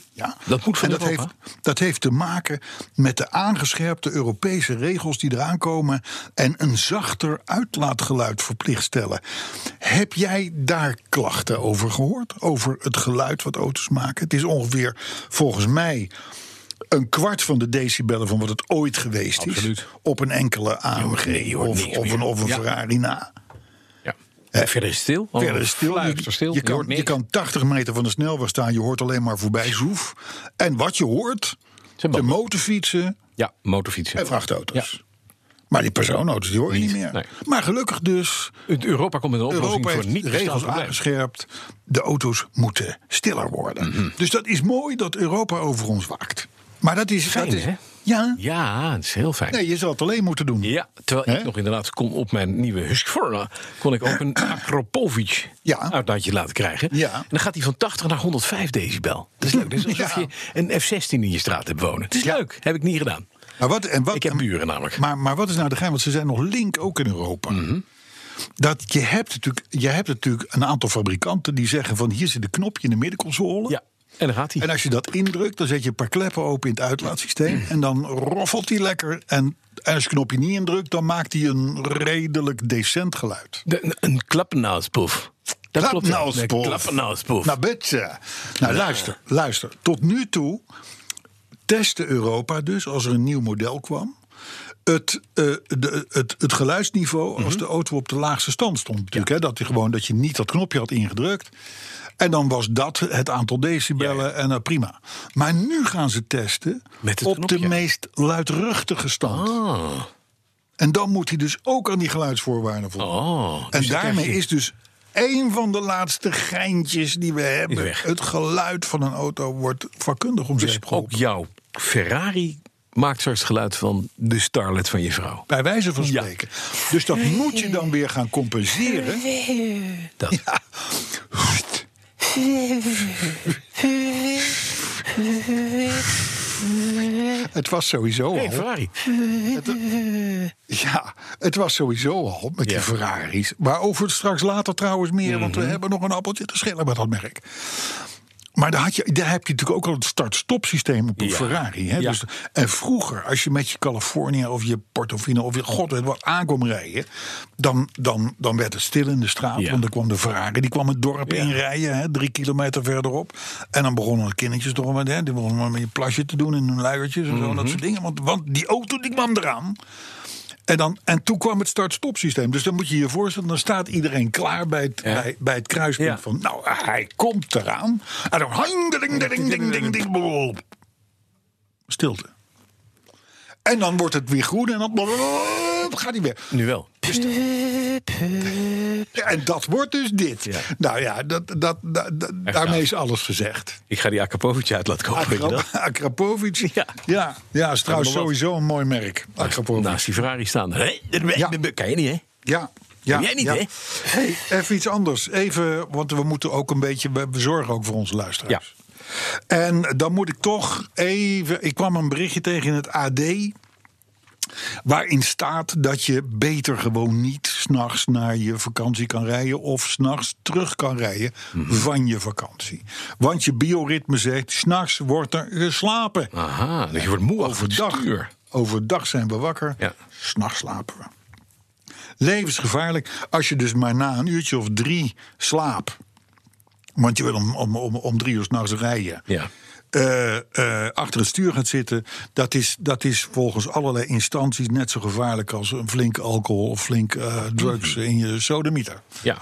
B: Dat moet van
C: en dat
B: Europa.
C: heeft, dat heeft te maken met de aangescherpte Europese regels die eraan komen... en een zachter uitlaatgeluid verplicht stellen. Heb jij daar klachten over gehoord? Over het geluid wat auto's maken? Het is ongeveer, volgens mij... Een kwart van de decibellen van wat het ooit geweest
B: Absoluut.
C: is. Op een enkele AMG
B: nee, je hoort
C: of,
B: niks
C: of,
B: meer.
C: een, of een
B: Ja.
C: Ferrari na.
B: Ja. Verder is het stil. Oh,
C: Verder is stil.
B: fluister stil.
C: Je, kan,
B: hoort niks.
C: je kan 80 meter van de snelweg staan. Je hoort alleen maar voorbij zoef. En wat je hoort,
B: Zijn
C: de
B: banden.
C: motorfietsen
B: Ja, motorfietsen.
C: en vrachtauto's. Maar die personenauto's die hoor je niet, meer.
B: nee.
C: Maar gelukkig dus,
B: Het Europa komt met een oplossing
C: Europa
B: voor
C: heeft
B: niet
C: de regels aangescherpt. De auto's moeten stiller worden.
B: Mhm.
C: Dus dat is mooi dat Europa over ons waakt. Maar dat is...
B: Fijn,
C: dat is
B: hè?
C: Ja,
B: Ja, dat is heel fijn.
C: nee, je zal het alleen moeten doen.
B: Ja, terwijl
C: Hè?
B: ik nog inderdaad kon op mijn nieuwe Husqvarna... kon ik ook een Akropovic
C: Ja.
B: uitlaatje laten krijgen.
C: Ja.
B: En dan gaat hij van 80 naar 105 decibel. Dat is leuk. Dat is alsof
C: Ja.
B: je een F-16 in je straat hebt wonen. Het is
C: Ja.
B: leuk. Heb ik niet gedaan.
C: Maar wat, en wat,
B: Ik heb buren namelijk.
C: Maar, maar wat is nou de geheim? Want ze zijn nog link ook in Europa. Dat je, hebt natuurlijk, je hebt natuurlijk een aantal fabrikanten die zeggen van hier zit een knopje in de middenconsole.
B: Ja, en dan gaat hij.
C: En als je dat indrukt, dan zet je een paar kleppen open in het uitlaatsysteem. En dan roffelt hij lekker. En, en als je het knopje niet indrukt, dan maakt hij een redelijk decent geluid.
B: De- een- een klappennauspoef. Dat klopt. wel.
C: Klappenaalspoef.
B: Een klappennauspoef.
C: Nou, bitte. Nou, luister, luister. Tot nu toe testte Europa dus, als er een nieuw model kwam... Het, eh, de, het, het geluidsniveau als
B: Mhm.
C: de auto op de laagste stand stond. Natuurlijk, hè, dat, je gewoon, dat je niet dat knopje had ingedrukt. En dan was dat het aantal decibellen en nou, prima. Maar nu gaan ze testen
B: Met het
C: op de
B: knopje.
C: meest luidruchtige stand.
B: Ah.
C: En dan moet hij dus ook aan die geluidsvoorwaarden voldoen.
B: Oh, dus
C: En
B: dan krijg
C: daarmee
B: je-
C: is dus één van de laatste geintjes die we hebben.
B: Is weg.
C: Het geluid van een auto wordt vakkundig om zeep
B: Ook
C: geholpen.
B: jouw Ferrari maakt straks het geluid van de starlet van je vrouw.
C: Bij wijze van
B: Ja.
C: spreken. Dus dat moet je dan weer gaan compenseren.
B: Dat.
C: Ja. Het was sowieso
B: Nee,
C: al.
B: Ferrari.
C: Ja, het was sowieso al met
B: Ja. Mhm.
C: die Ferraris. Waarover straks later trouwens meer, want we hebben nog een appeltje te schillen met dat merk. Maar daar, had je, daar heb je natuurlijk ook al het start-stop systeem op een
B: Ja.
C: Ferrari. Hè?
B: Ja.
C: Dus, en vroeger, als je met je California of je Portofino of je god weet wat aankwam rijden, dan, dan, dan werd het stil in de straat.
B: Ja.
C: Want dan kwam de Ferrari, die kwam het dorp
B: Ja.
C: inrijden, hè, drie kilometer verderop. En dan begonnen de kindertjes toch met, hè, die begonnen met je plasje te doen en hun luiertjes en
B: Mhm.
C: zo en dat soort dingen. Want, want die auto die kwam eraan. En, dan, en toen kwam het start-stop systeem. Dus dan moet je je voorstellen, dan staat iedereen klaar bij het,
B: Ja.
C: bij, bij het kruispunt
B: Ja.
C: van... Nou, hij komt eraan. En dan... hang, ding, ding, ding, ding, ding, ding, blop. Stilte. En dan wordt het weer groen en dan blop, gaat hij weer.
B: Nu wel.
C: En dat wordt dus dit.
B: Ja.
C: Nou ja, dat, dat, dat- dat- daarmee
B: gaaf.
C: is alles gezegd.
B: Ik ga die Akapovic uit laten komen. weet je
C: Akrap-
B: dat?
C: Akrapovic.
B: Ja.
C: Ja. Ja, is trouwens
B: nog wat.
C: sowieso een mooi merk. Akrapovic.
B: Naast die Ferrari staan. Hé,
C: Ja.
B: dat Kan je niet, hè?
C: Ja. Ja,
B: Heb jij niet,
C: ja.
B: hè?
C: Hey, even iets anders. Even, want we moeten ook een beetje... We we zorgen ook voor onze luisteraars. En dan moet ik toch even... Ik kwam een berichtje tegen in het AD... waarin staat dat je beter gewoon niet... s'nachts naar je vakantie kan rijden... of s'nachts terug kan rijden van je vakantie. Want je bioritme zegt... s'nachts wordt er geslapen.
B: Aha, dus je wordt moe achter het
C: Overdag,
B: stuur.
C: overdag zijn we wakker,
B: Ja.
C: s'nachts slapen we. Levensgevaarlijk als je dus maar na een uurtje of drie slaapt. Want je wil om, om, om, om drie uur s'nachts rijden.
B: Ja.
C: Eh, eh, achter het stuur gaat zitten. Dat is, dat is volgens allerlei instanties net zo gevaarlijk als een flink alcohol of flink eh, drugs
B: Mhm.
C: in je sodemieter.
B: Ja.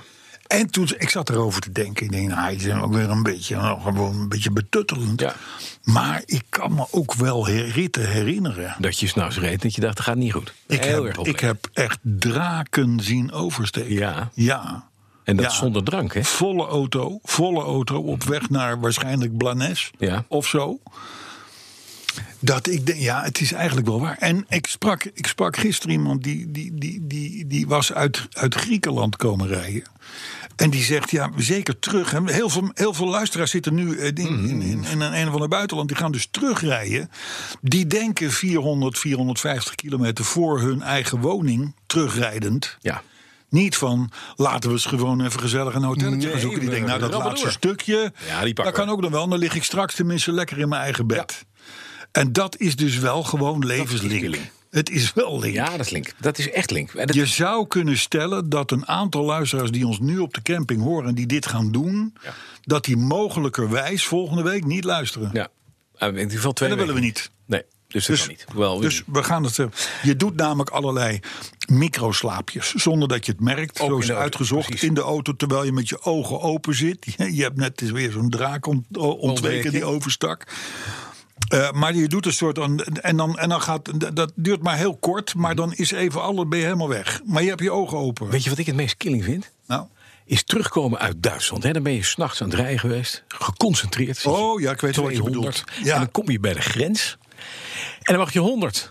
C: En toen, ik zat erover te denken. Ik denk, nou, die zijn ook weer een beetje, nou, gewoon een beetje betuttelend.
B: Ja.
C: Maar ik kan me ook wel her- ritten herinneren.
B: Dat je s'nachts reed dat je dacht, dat gaat niet goed.
C: Ik
B: Heel
C: heb,
B: erg op.
C: ik heb echt draken zien oversteken.
B: Ja.
C: Ja.
B: En dat
C: Ja.
B: zonder drank, hè?
C: Volle auto, volle auto op weg naar waarschijnlijk Blanes
B: Ja.
C: of zo. Dat ik denk, ja, het is eigenlijk wel waar. En ik sprak, ik sprak gisteren iemand die, die, die, die, die was uit, uit Griekenland komen rijden. En die zegt, ja, zeker terug. hè. Heel veel, heel veel luisteraars zitten nu eh, in,
B: Mm-hmm.
C: in, in, in een een of ander buitenland. Die gaan dus terugrijden. Die denken 400, 450 kilometer voor hun eigen woning terugrijdend.
B: Ja.
C: Niet van laten we eens gewoon even gezellig een hotelletje
B: Nee,
C: gaan zoeken. Die
B: we
C: denkt, nou dat
B: rammen
C: laatste
B: door.
C: stukje,
B: Ja, die pakken
C: dat
B: we.
C: kan ook nog wel. Dan lig ik straks tenminste lekker in mijn eigen bed. En dat is dus wel gewoon levenslink.
B: link.
C: Het is wel link.
B: Ja, dat is link. Dat is echt link. En dat-
C: Je zou kunnen stellen dat een aantal luisteraars die ons nu op de camping horen en die dit gaan doen,
B: Ja.
C: dat die mogelijkerwijs volgende week niet luisteren.
B: Ja. Ah, In ieder geval twee
C: En dat willen we
B: weken.
C: niet.
B: Nee, dus dat kan niet. Wel,
C: dus we gaan het. eh, Je doet namelijk allerlei microslaapjes. Zonder dat je het merkt.
B: Ook
C: zo
B: in
C: is
B: de auto,
C: uitgezocht
B: precies.
C: in de auto. Terwijl je met je ogen open zit. Je hebt net eens weer zo'n draak ont, ontweken die overstak. Eh, maar je doet een soort. aan- En, dan, en dan gaat, dat- dat duurt maar heel kort. Maar dan is even alle, ben je helemaal weg. Maar je hebt je ogen open.
B: weet je wat ik het meest killing vind?
C: Nou.
B: Is terugkomen uit Duitsland. Hè? Dan ben je s'nachts aan het rijden geweest. Geconcentreerd. zit je
C: Oh, ja, ik weet wat je
B: 200.
C: bedoelt. Ja.
B: En dan kom je bij de grens. En dan mag je 100.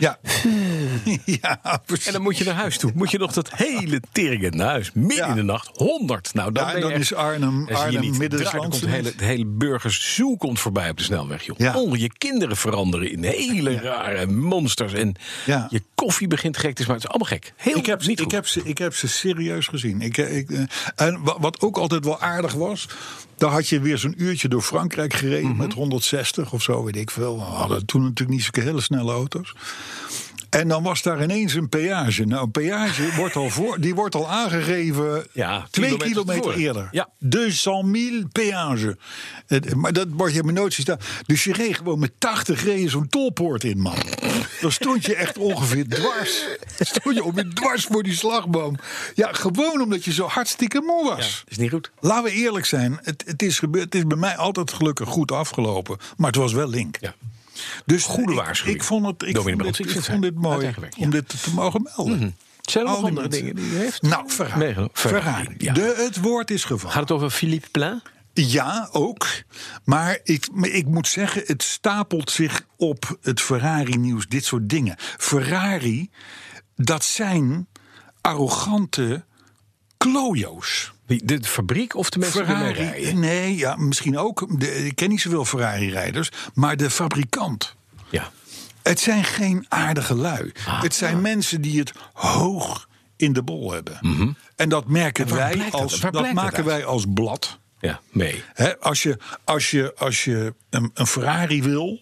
C: Ja. ja, precies.
B: En dan moet je naar huis toe. Moet je nog dat hele teringen naar huis. Midden
C: Ja.
B: in de nacht. 100. Nou, dan,
C: Ja, en
B: ben je
C: dan
B: echt-
C: is Arnhem-
B: dan zie je
C: Arnhem
B: niet.
C: Midden-Zandse
B: Draai, dan komt de hele,
C: niet.
B: de hele burgerszoel komt voorbij op de snelweg. Joh.
C: Ja.
B: Al je kinderen veranderen in hele rare monsters. En
C: Ja.
B: je koffie begint gek te smaken. Het is allemaal gek. Heel
C: Ik heb, ze,
B: niet
C: ik,
B: goed.
C: heb ze, ik heb ze serieus gezien. Ik, eh, ik, eh, en wa- wat ook altijd wel aardig was. Daar had je weer zo'n uurtje door Frankrijk gereden.
B: Mhm.
C: Met 160 of zo, weet ik veel. We hadden toen natuurlijk niet zulke hele snelle auto's. En dan was daar ineens een peage. Nou, een peage wordt al, voor, die wordt al aangegeven
B: Ja,
C: twee
B: kilometer
C: kilometer
B: tevoren.
C: eerder.
B: Ja.
C: 200.000 peage. Het- Maar dat word je me nooit zien staan. Dus je reed gewoon met 80 reden zo'n tolpoort in, man. Dan stond je echt ongeveer dwars. Dan stond je ongeveer dwars voor die slagboom. Ja, gewoon omdat je zo hartstikke moe
B: Ja,
C: was.
B: is niet goed.
C: Laten we eerlijk zijn, het, het, is gebeurd, het is bij mij altijd gelukkig goed afgelopen. Maar het was wel link.
B: Ja.
C: Dus
B: Goede
C: ik-
B: waarschuwing.
C: Ik vond het ik
B: Dominee
C: vond
B: Brandt, ik
C: dit, ik
B: vind het
C: vond dit
B: fijn. Uit
C: mooi
B: eigen werk, ja. Mhm.
C: om dit te mogen melden.
B: Zijn er nog
C: Al die
B: andere
C: mensen.
B: dingen die u heeft?
C: Nou, Ferrari.
B: Meegenomen.
C: Ferrari.
B: Ferrari, ja.
C: De, het woord is gevallen.
B: Gaat het over Philippe Plein?
C: Ja, ook. Maar ik, maar ik moet zeggen, het stapelt zich op het Ferrari-nieuws, dit soort dingen. Ferrari, dat zijn arrogante klojo's.
B: Wie, De fabriek of de mensen die ermee
C: Ferrari.
B: rijden?
C: Nee, ja, misschien ook. De, ik ken niet zoveel Ferrari-rijders. Maar de fabrikant.
B: Ja.
C: Het zijn geen aardige lui.
B: Ah.
C: het zijn mensen die het hoog in de bol hebben. En dat merken
B: Mhm. waar
C: wij
B: blijkt dat-
C: als.
B: waar
C: Dat,
B: blijkt dat
C: maken
B: uit?
C: wij als blad.
B: ja, mee.
C: Hè, als je, als je, als je een, een Ferrari wil.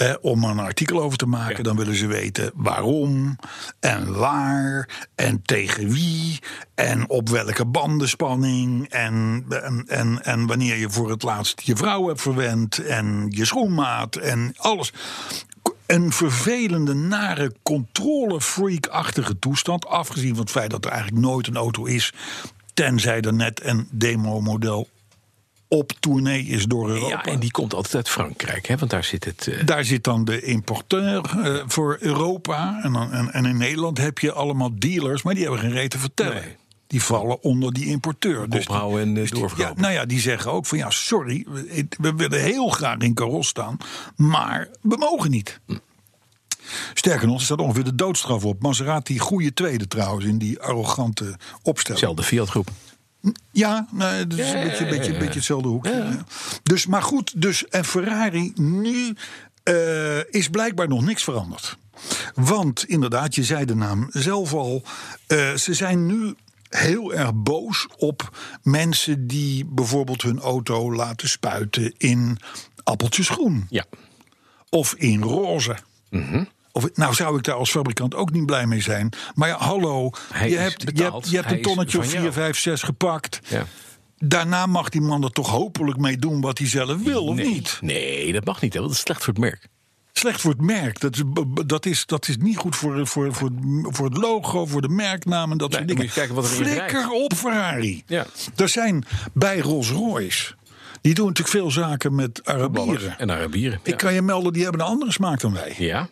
C: eh, om er een artikel over te maken, dan willen ze weten waarom en waar en tegen wie en op welke bandenspanning en, en, en, en wanneer je voor het laatst je vrouw hebt verwend en je schoenmaat en alles. Een vervelende, nare controlefreak-achtige toestand, afgezien van het feit dat er eigenlijk nooit een auto is, tenzij er net een demo-model op tournee is door Europa.
B: Ja, en die komt altijd uit Frankrijk, hè? want daar zit het... eh,
C: Daar zit dan de importeur eh, voor Europa. En, dan, en, en in Nederland heb je allemaal dealers, maar die hebben geen reet te vertellen.
B: Nee.
C: Die vallen onder die importeur. Dus die-
B: houden en, eh,
C: die-
B: doorverkopen.
C: ja, Nou ja, die zeggen ook van ja, sorry, we, we willen heel graag in Caros staan, maar we mogen niet. Sterker nog, er staat ongeveer de doodstraf op. Maserati, goede tweede trouwens, in die arrogante opstelling.
B: Zelfde Fiat-groep.
C: Ja, nou, het is een beetje, beetje, beetje hetzelfde hoekje. ja. Dus, maar goed, dus, en Ferrari nu eh, is blijkbaar nog niks veranderd. Want inderdaad, je zei de naam zelf al, eh, ze zijn nu heel erg boos op mensen die bijvoorbeeld hun auto laten spuiten in appeltjes groen
B: Ja.
C: of in roze.
B: Mhm.
C: Of, nou zou ik daar als fabrikant ook niet blij mee zijn. Maar ja, hallo,
B: Hij
C: je
B: is
C: hebt, je
B: betaald.
C: hebt, je hebt
B: Hij
C: een
B: is
C: tonnetje of
B: van
C: 4,
B: jou.
C: 5, 6 gepakt.
B: Ja.
C: Daarna mag die man er toch hopelijk mee doen wat hij zelf wil, of
B: nee,
C: niet?
B: Nee, dat mag niet, hè, want dat is slecht voor het merk.
C: Slecht voor het merk. Dat is, b- b- dat is, dat is niet goed voor, voor, voor, voor het logo, voor de merknaam en dat
B: Nee,
C: soort
B: dan
C: dingen.
B: moet je kijken wat er in
C: Flikker
B: rijdt.
C: op Ferrari.
B: Ja.
C: Er zijn bij Rolls-Royce, die doen natuurlijk veel zaken met Arabieren.
B: En Arabieren.
C: Ik kan je melden, die hebben een andere smaak dan wij.
B: Ja.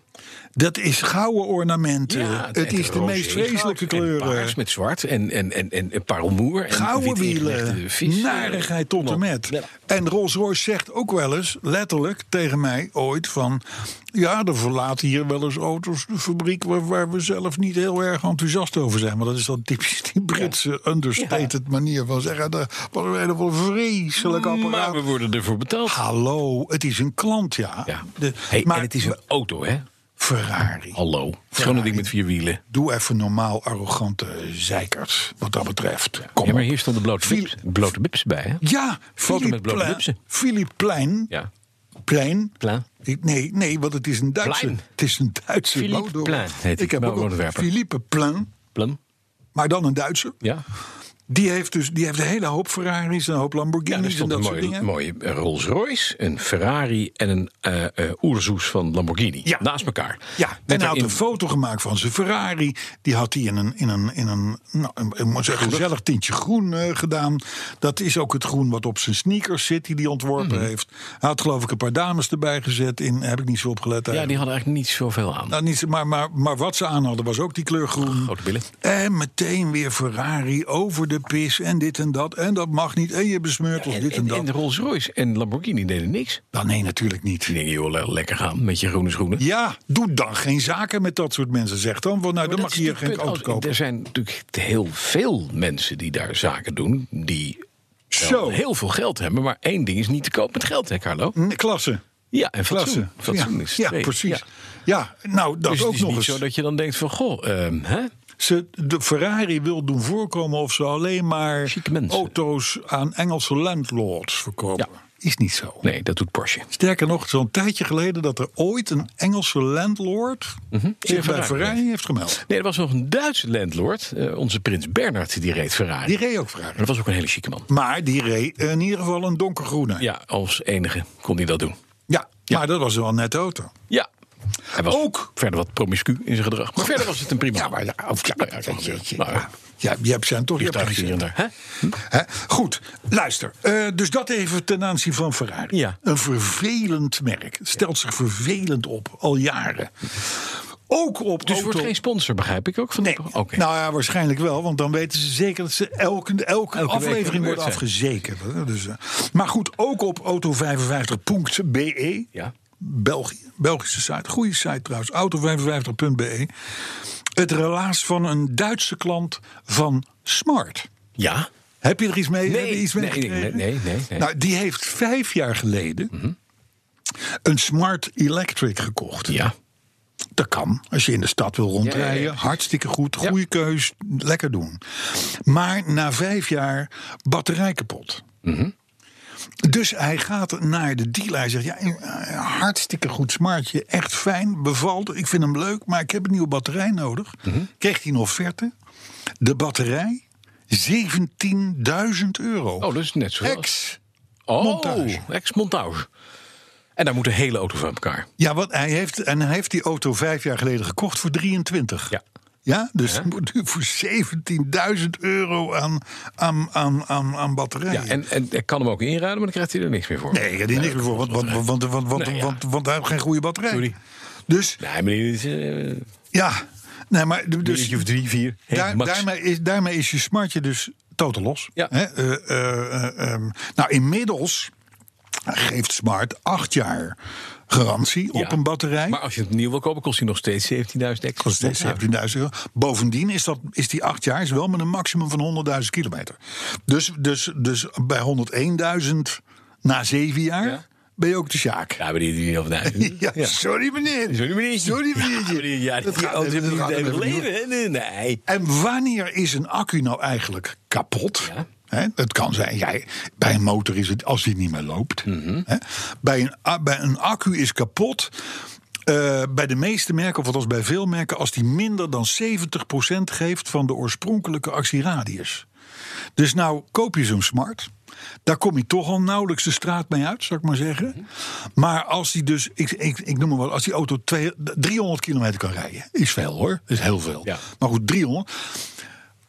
C: Dat is gouden ornamenten.
B: Ja,
C: het
B: en
C: is de
B: roze
C: meest
B: en
C: vreselijke
B: goud en
C: kleuren.
B: paars met zwart en, en, en, en, en parelmoer. En
C: Gouden
B: wit ingelegde
C: wielen,
B: vis.
C: narigheid tot en met.
B: Ja.
C: En Rolls-Royce zegt ook wel eens, letterlijk tegen mij ooit... van ja, er verlaten hier wel eens auto's de fabriek... waar, waar we zelf niet heel erg enthousiast over zijn. Maar dat is dan typisch die Britse understated manier van zeggen... dat was een hele wel vreselijk
B: Maar
C: apparaat.
B: we worden ervoor betaald.
C: Hallo, het is een klant, ja.
B: Ja.
C: De-
B: hey, en het is een auto, hè?
C: Ferrari.
B: Hallo. Het is gewoon een ding met vier wielen.
C: Doe even normaal arrogante zeikers, wat dat betreft. Kom
B: Ja, maar
C: op.
B: hier stonden blote
C: Viel-
B: bips, blote bips bij, hè?
C: Ja,
B: Foto met
C: Philippe
B: blote
C: Plein.
B: bipsen.
C: Philippe Plein.
B: Ja.
C: Plein.
B: Plein.
C: Ik- Nee, nee, want het is een Duitse.
B: Plein.
C: Het is een Duitse
B: Philippe
C: model.
B: Plein heet hij,
C: Ik heb
B: nou,
C: ook een
B: modeontwerper.
C: Philippe Plein,
B: Plum.
C: maar dan een Duitse.
B: Ja.
C: Die heeft dus die heeft een hele hoop Ferraris, een hoop
B: Ja, er
C: Lamborghinis en
B: stond
C: dat
B: een
C: soort
B: mooie,
C: dingen.
B: mooie Rolls Royce, een Ferrari en een eh eh, oerzoes van Lamborghini.
C: Ja.
B: Naast elkaar.
C: Ja,
B: Met
C: en hij had
B: daarin-
C: een foto gemaakt van zijn Ferrari. Die had hij in een, in een, in een, nou, een, een- een gezellig tintje groen eh, gedaan. Dat is ook het groen wat op zijn sneakers zit, die hij ontworpen
B: Mhm.
C: heeft. Hij had geloof ik een paar dames erbij gezet. In, eh, heb ik niet zo opgelet.
B: Ja, die
C: eigenlijk.
B: hadden eigenlijk niet zoveel aan.
C: nou, niet, zo- maar, maar, maar wat ze aan hadden was ook die kleur groen.
B: Grote billen.
C: En meteen weer Ferrari over de pis en dit en dat. En dat mag niet. En je besmeurt ons
B: En,
C: dit en,
B: en,
C: dat.
B: en de Rolls Royce en Lamborghini deden niks.
C: Nou, nee, natuurlijk niet.
B: Die denken, joh, le- lekker gaan met je groene schoenen.
C: Ja, doe dan geen zaken met dat soort mensen, zegt dan. Want nou, dan
B: Maar
C: mag
B: dat
C: je
B: is
C: hier geen
B: natuurlijk
C: auto
B: punt. Als-
C: kopen.
B: Er zijn natuurlijk heel veel mensen die daar zaken doen. Die wel
C: Zo.
B: heel veel geld hebben. Maar één ding is niet te koop met geld, hè Carlo?
C: Nee, Klasse.
B: Ja, en
C: Klasse.
B: fatsoen. Fatsoen
C: ja,
B: is
C: ja,
B: twee. Ja.
C: precies. Ja, nou, dat
B: Dus het
C: ook
B: is
C: nog
B: niet
C: eens.
B: zo dat je dan denkt van, goh, ehm, hè?
C: Ze, de Ferrari wil doen voorkomen of ze alleen maar
B: Chique mensen.
C: auto's aan Engelse landlords verkopen.
B: Ja.
C: Is niet zo.
B: Nee, dat doet Porsche.
C: Sterker nog, zo'n tijdje geleden dat er ooit een Engelse landlord
B: Mhm.
C: zich bij
B: Ferrari
C: Ferrari heeft gemeld.
B: Nee, er was nog een Duitse landlord. eh, onze prins Bernard, die reed Ferrari.
C: Die reed ook Ferrari.
B: Dat was ook een hele chique man.
C: Maar die reed in ieder geval een donkergroene.
B: Ja, als enige kon hij dat doen.
C: Ja, maar dat was wel een nette auto.
B: Ja. Hij was
C: Ook.
B: verder wat promiscu in zijn gedrag. Maar verder was het een prima.
C: Ja, maar ja, of, ja,
B: Nou ja,
C: ja,
B: dat gebeurt.
C: jeetje,
B: Nou ja.
C: ja. Ja, je hebt zijn toch je hebt
B: Vliegtuigjes
C: gezien.
B: hier en daar. Hè?
C: Hè? Goed, luister. Eh, dus dat even ten aanzien van Ferrari.
B: Ja.
C: Een vervelend merk. Het Stelt zich vervelend op, al jaren. Ook op
B: Dus
C: auto-
B: wordt geen sponsor, begrijp ik ook. Van
C: Nee,
B: de- Oké.
C: nou ja, waarschijnlijk wel. Want dan weten ze zeker dat ze elke, elke,
B: week
C: aflevering wordt
B: gebeurt, hè?
C: afgezekerd. hè. Dus, eh, maar goed, ook op auto55.be.
B: Ja.
C: België. Belgische site. Goede site trouwens. Auto55.be. Het relaas van een Duitse klant van Smart.
B: ja.
C: Heb je er iets mee? Heb je
B: Nee,
C: iets mee
B: nee, nee, nee,
C: gekregen?
B: nee, nee, nee. Mhm.
C: Nou, die heeft vijf jaar geleden een smart electric gekocht.
B: ja.
C: Dat kan. Als je in de stad wil rondrijden.
B: Ja, ja, ja, precies.
C: hartstikke goed. Goede keus. Lekker doen. Maar na vijf jaar batterij kapot.
B: Mhm.
C: Dus hij gaat naar de dealer. Hij zegt: ja, eh, Hartstikke goed smartje. Echt fijn. Bevalt. Ik vind hem leuk. Maar ik heb een nieuwe batterij nodig.
B: Mhm.
C: Kreeg hij een offerte. De batterij 17.000 euro.
B: Oh, dat is net zo.
C: Ex. montage.
B: Oh, ex-montage. En daar moet de hele auto van elkaar.
C: Ja, want hij heeft, en hij heeft die auto vijf jaar geleden gekocht voor 23.
B: Ja.
C: Ja, dus het moet nu voor 17.000 euro aan, aan, aan, aan, aan batterijen.
B: Ja, en, en ik kan hem ook inruilen, maar dan krijgt hij er niks meer voor.
C: nee, ik heb die niks meer voor, want, want, want, want, want, want,
B: Nee, ja.
C: want, want hij heeft geen goede batterij.
B: Sorry.
C: Dus
B: Nee, meneer, dit is, eh,
C: ja, nee, maar d- dus,
B: minuutje of drie, vier. Hey,
C: daar,
B: max.
C: daarmee, is, daarmee is je smartje dus totaal los.
B: Ja.
C: Hè? Eh, eh, eh, ehm, nou, inmiddels geeft Smart acht jaar garantie op
B: Ja.
C: een batterij.
B: Maar als je het nieuw wil kopen, kost hij nog steeds 17.000 ex.
C: Kost steeds 17.000 euro. Bovendien is, dat, is die acht jaar is wel met een maximum van 100.000 kilometer. Dus, dus, dus bij 101.000 na zeven jaar
B: Ja.
C: ben je ook de Sjaak.
B: Ja, maar die die heel vandaag.
C: Ja, sorry meneer.
B: Sorry, meneertje.
C: Sorry meneertje.
B: Ja,
C: Dat
B: die
C: gaat
B: auto
C: even-
B: heeft
C: dat
B: niet
C: gaat
B: even
C: even niet.
B: leven. hè? Nee, Nee.
C: En wanneer is een accu nou eigenlijk kapot?
B: Ja.
C: Hè, het kan zijn, jij, bij een motor is het als die niet meer loopt. Hè? Bij, een, a- bij een accu is kapot. eh, bij de meeste merken, of althans bij veel merken, als die minder dan 70% geeft van de oorspronkelijke actieradius. Dus nou koop je zo'n smart. Daar kom je toch al nauwelijks de straat mee uit, zou ik maar
B: Mhm.
C: zeggen. Maar als die dus, ik, ik, ik noem maar wel, als die auto twee- 300 kilometer kan rijden, is veel hoor, is heel veel.
B: Ja.
C: Maar goed, 300.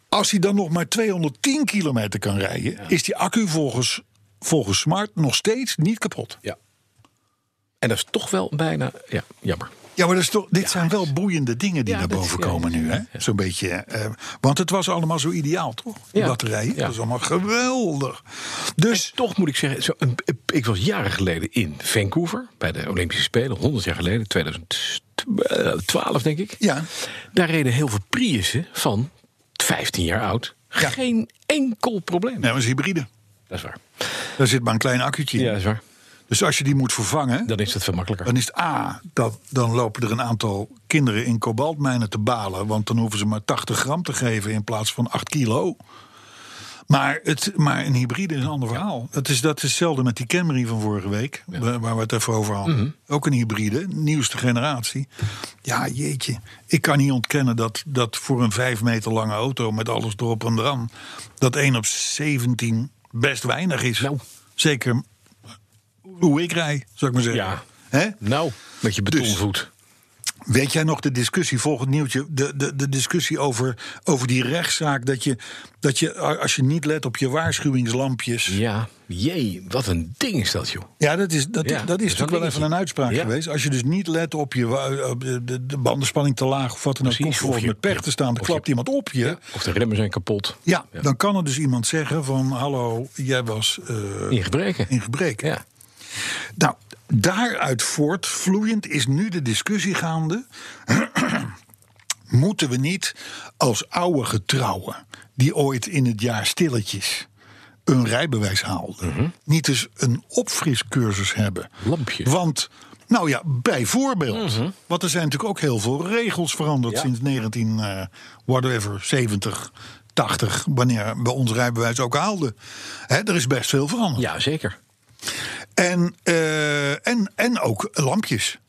C: Als hij dan nog maar 210 kilometer kan rijden, is die accu volgens, volgens Smart nog steeds niet kapot.
B: Ja. En dat is toch wel bijna. Ja, jammer.
C: Ja, maar dat is toch, dit zijn wel boeiende dingen die
B: Ja,
C: naar
B: dat is-
C: boven
B: ja,
C: komen
B: ja,
C: nu.
B: ja,
C: Hè? Zo'n beetje. eh, want het was allemaal zo ideaal, toch? Die
B: Ja.
C: batterijen.
B: Ja.
C: Dat is allemaal geweldig. Dus.
B: Toch moet ik zeggen, zo, een- ik was jaren geleden in Vancouver bij de Olympische Spelen, 100 jaar geleden, 2012 denk ik.
C: Ja.
B: Daar reden heel veel Priussen van 15 jaar oud.
C: Ja.
B: Geen enkel probleem.
C: Nee, maar nou, het is hybride.
B: Dat is waar.
C: Daar zit maar een klein accu'tje in.
B: Ja, dat is waar.
C: Dus als je die moet vervangen,
B: Dan is het veel makkelijker.
C: dan is het A, dat, dan lopen er een aantal kinderen in kobaltmijnen te balen. Want dan hoeven ze maar 80 gram te geven in plaats van 8 kilo. Maar, het, maar een hybride is een ander verhaal. Dat is, dat is hetzelfde met die Camry van vorige week, waar waar we het even over hadden.
B: Mhm.
C: Ook een hybride, nieuwste generatie. Ja, jeetje. Ik kan niet ontkennen dat, dat voor een vijf meter lange auto met alles erop en eraan... dat 1 op 17 best weinig is.
B: Nou.
C: Zeker hoe ik rij, zou ik maar zeggen.
B: Ja.
C: Hè?
B: Nou, met je
C: Dus-
B: betonvoet.
C: Weet jij nog de discussie, volgend nieuwtje, de, de, de discussie over, over die rechtszaak? Dat je, dat je, a- als je niet let op je waarschuwingslampjes. Ja,
B: Ja, jee, wat een ding is dat, joh.
C: dat is, dat,
B: Ja,
C: dat is
B: dat is
C: natuurlijk
B: wel
C: wel even
B: dingetje.
C: een uitspraak
B: Ja.
C: geweest. Als je dus niet let op je wa- eh, op de, de, de bandenspanning te laag of wat dan ook,
B: Precies,
C: komt
B: of
C: voor
B: je-
C: met pech te staan, dan
B: of je-
C: klapt iemand op je. Ja.
B: Of de remmen zijn kapot.
C: dan kan er dus iemand zeggen van, hallo, jij was eh,
B: In gebreken.
C: in gebrek.
B: Ja.
C: Nou, daaruit voortvloeiend is nu de discussie gaande. Moeten we niet als oude getrouwen, die ooit in het jaar stilletjes een rijbewijs haalden,
B: Mhm.
C: niet eens een opfriscursus hebben?
B: Lampje. Mhm.
C: Want, nou ja, bijvoorbeeld, want er zijn natuurlijk ook heel veel regels veranderd
B: Ja.
C: sinds 19, eh, whatever, 70, 80, wanneer we ons rijbewijs ook haalden. Hè, er is best veel veranderd.
B: Ja, zeker.
C: En, eh, en, en ook lampjes.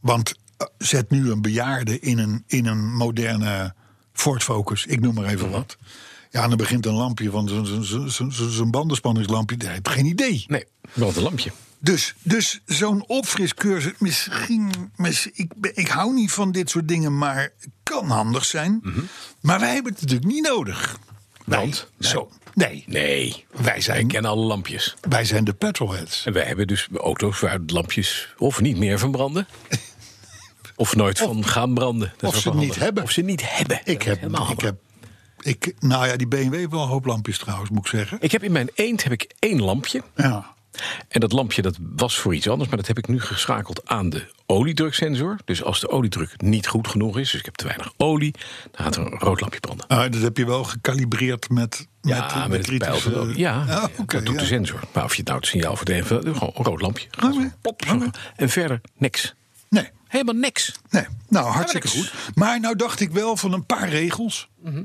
C: Want eh, zet nu een bejaarde in een, in een moderne Ford Focus, ik noem maar
B: Mhm.
C: even wat. Ja, en dan begint een lampje, want zo'n- zo'n- zo'n- zo'n- zo'n zo'n bandenspanningslampje, daar heb je geen idee.
B: Nee, brandt een lampje.
C: Dus, dus zo'n opfriscursus, misschien, misschien ik, ben- ik hou niet van dit soort dingen, maar kan handig zijn. Maar wij hebben het natuurlijk niet nodig.
B: Mhm. Want?
C: Wij, zo, nee,
B: Nee,
C: wij
B: ik
C: zijn,
B: ken alle lampjes.
C: wij zijn de petrolheads.
B: En wij hebben dus auto's waar de lampjes of niet meer van branden. Of nooit van gaan branden. Dat is
C: of
B: ook
C: ze
B: wel
C: niet
B: handig.
C: hebben.
B: Of ze niet hebben. Dat
C: Ik
B: is
C: heb,
B: helemaal
C: ik
B: handig.
C: heb, ik, nou ja, die BMW heeft wel een hoop lampjes trouwens, moet ik zeggen.
B: ik heb in mijn eend heb ik één lampje.
C: Ja.
B: En dat lampje dat was voor iets anders, maar dat heb ik nu geschakeld aan de oliedruksensor. Dus als de oliedruk niet goed genoeg is, dus ik heb te weinig olie, dan gaat er een rood lampje branden.
C: Ah, dat heb je wel gecalibreerd met, met,
B: Ja,
C: eh,
B: met,
C: de
B: het pijl van de olie. Ja,
C: Ah, oké,
B: dat doet
C: ja.
B: de sensor. Maar of je het nou het signaal verdedigt, gewoon een rood lampje. Gaat zo, plop, zo. En verder niks.
C: Nee,
B: Helemaal niks.
C: nee. Nou, hartstikke
B: Ja, maar
C: goed. Maar nou dacht ik wel van een paar regels.
B: Mhm.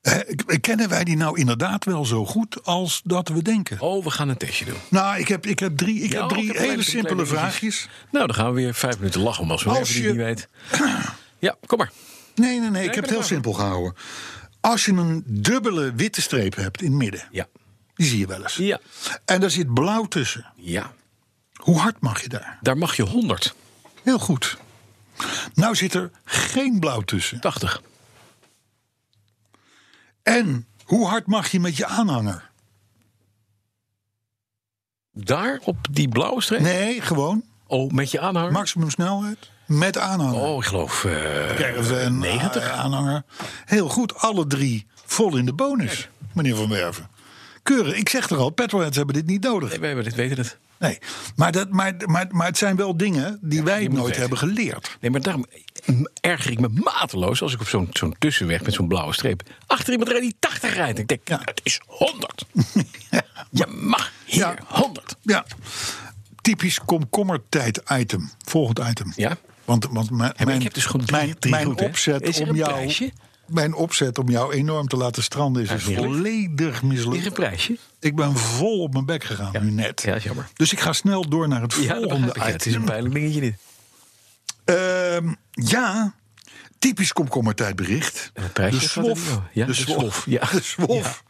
C: Eh, k- kennen wij die nou inderdaad wel zo goed als dat we denken?
B: Oh, we gaan een testje doen.
C: Nou, ik heb, ik heb drie, ik
B: Ja,
C: heb
B: oh,
C: drie
B: ik heb een
C: hele
B: klein-
C: simpele
B: klein dingetje.
C: vraagjes.
B: Nou, dan gaan we weer vijf minuten lachen om als we
C: Als
B: even
C: je-
B: niet weet. Ja, kom maar.
C: Nee, nee, nee. Ik
B: ik ben
C: heb het heel
B: er klaar
C: simpel gehouden. Als je een dubbele witte streep hebt in het midden.
B: Ja.
C: Die zie je wel eens.
B: Ja.
C: En daar zit blauw tussen.
B: Ja.
C: Hoe hard mag je daar?
B: Daar mag je 100.
C: Heel goed. Nou zit er geen blauw tussen.
B: 80.
C: En hoe hard mag je met je aanhanger?
B: Daar op die blauwe streep?
C: Nee, gewoon.
B: Oh, met je aanhanger?
C: Maximum snelheid. Met aanhanger.
B: Oh, ik geloof. eh,
C: Krijgen we een
B: 90?
C: a- aanhanger. Heel goed. Alle drie vol in de bonus. Meneer Van Werven. Keurig. Ik zeg er al, petrolheads hebben dit niet nodig.
B: we hebben dit, weten het.
C: Nee, maar, dat, maar, maar, maar het zijn wel dingen die wij
B: moet
C: nooit
B: weten.
C: hebben geleerd.
B: Nee, maar daarom erger ik me mateloos als ik op zo'n zo'n tussenweg met zo'n blauwe streep achter iemand rijd die 80 rijdt. Ik denk,
C: Ja.
B: het is 100. Je mag hier
C: Ja.
B: 100.
C: Ja, typisch komkommertijd-item. Volgend item.
B: Ja.
C: Want, want mijn,
B: ik
C: mijn,
B: heb dus gewoon drie-
C: mijn,
B: drie
C: mijn
B: goed, hè?
C: opzet
B: Is er
C: om
B: een
C: jou,
B: prijsje?
C: mijn opzet om jou enorm te laten stranden is
B: Ja,
C: dus
B: heerlijk.
C: volledig
B: Hier een
C: mislukt.
B: prijsje.
C: Ik ben vol op mijn bek gegaan nu net.
B: Ja, is jammer.
C: Dus ik ga snel door naar het
B: Ja, dat
C: volgende
B: begrijp ik. Ja, het is
C: item.
B: een pijnlijk dingetje dit.
C: Ehm, ja, typisch komkommertijdbericht.
B: En het prijsje
C: de
B: gaat er
C: SWOF.
B: niet over. Ja,
C: de
B: de
C: SWOF.
B: SWOF, ja.
C: de SWOF.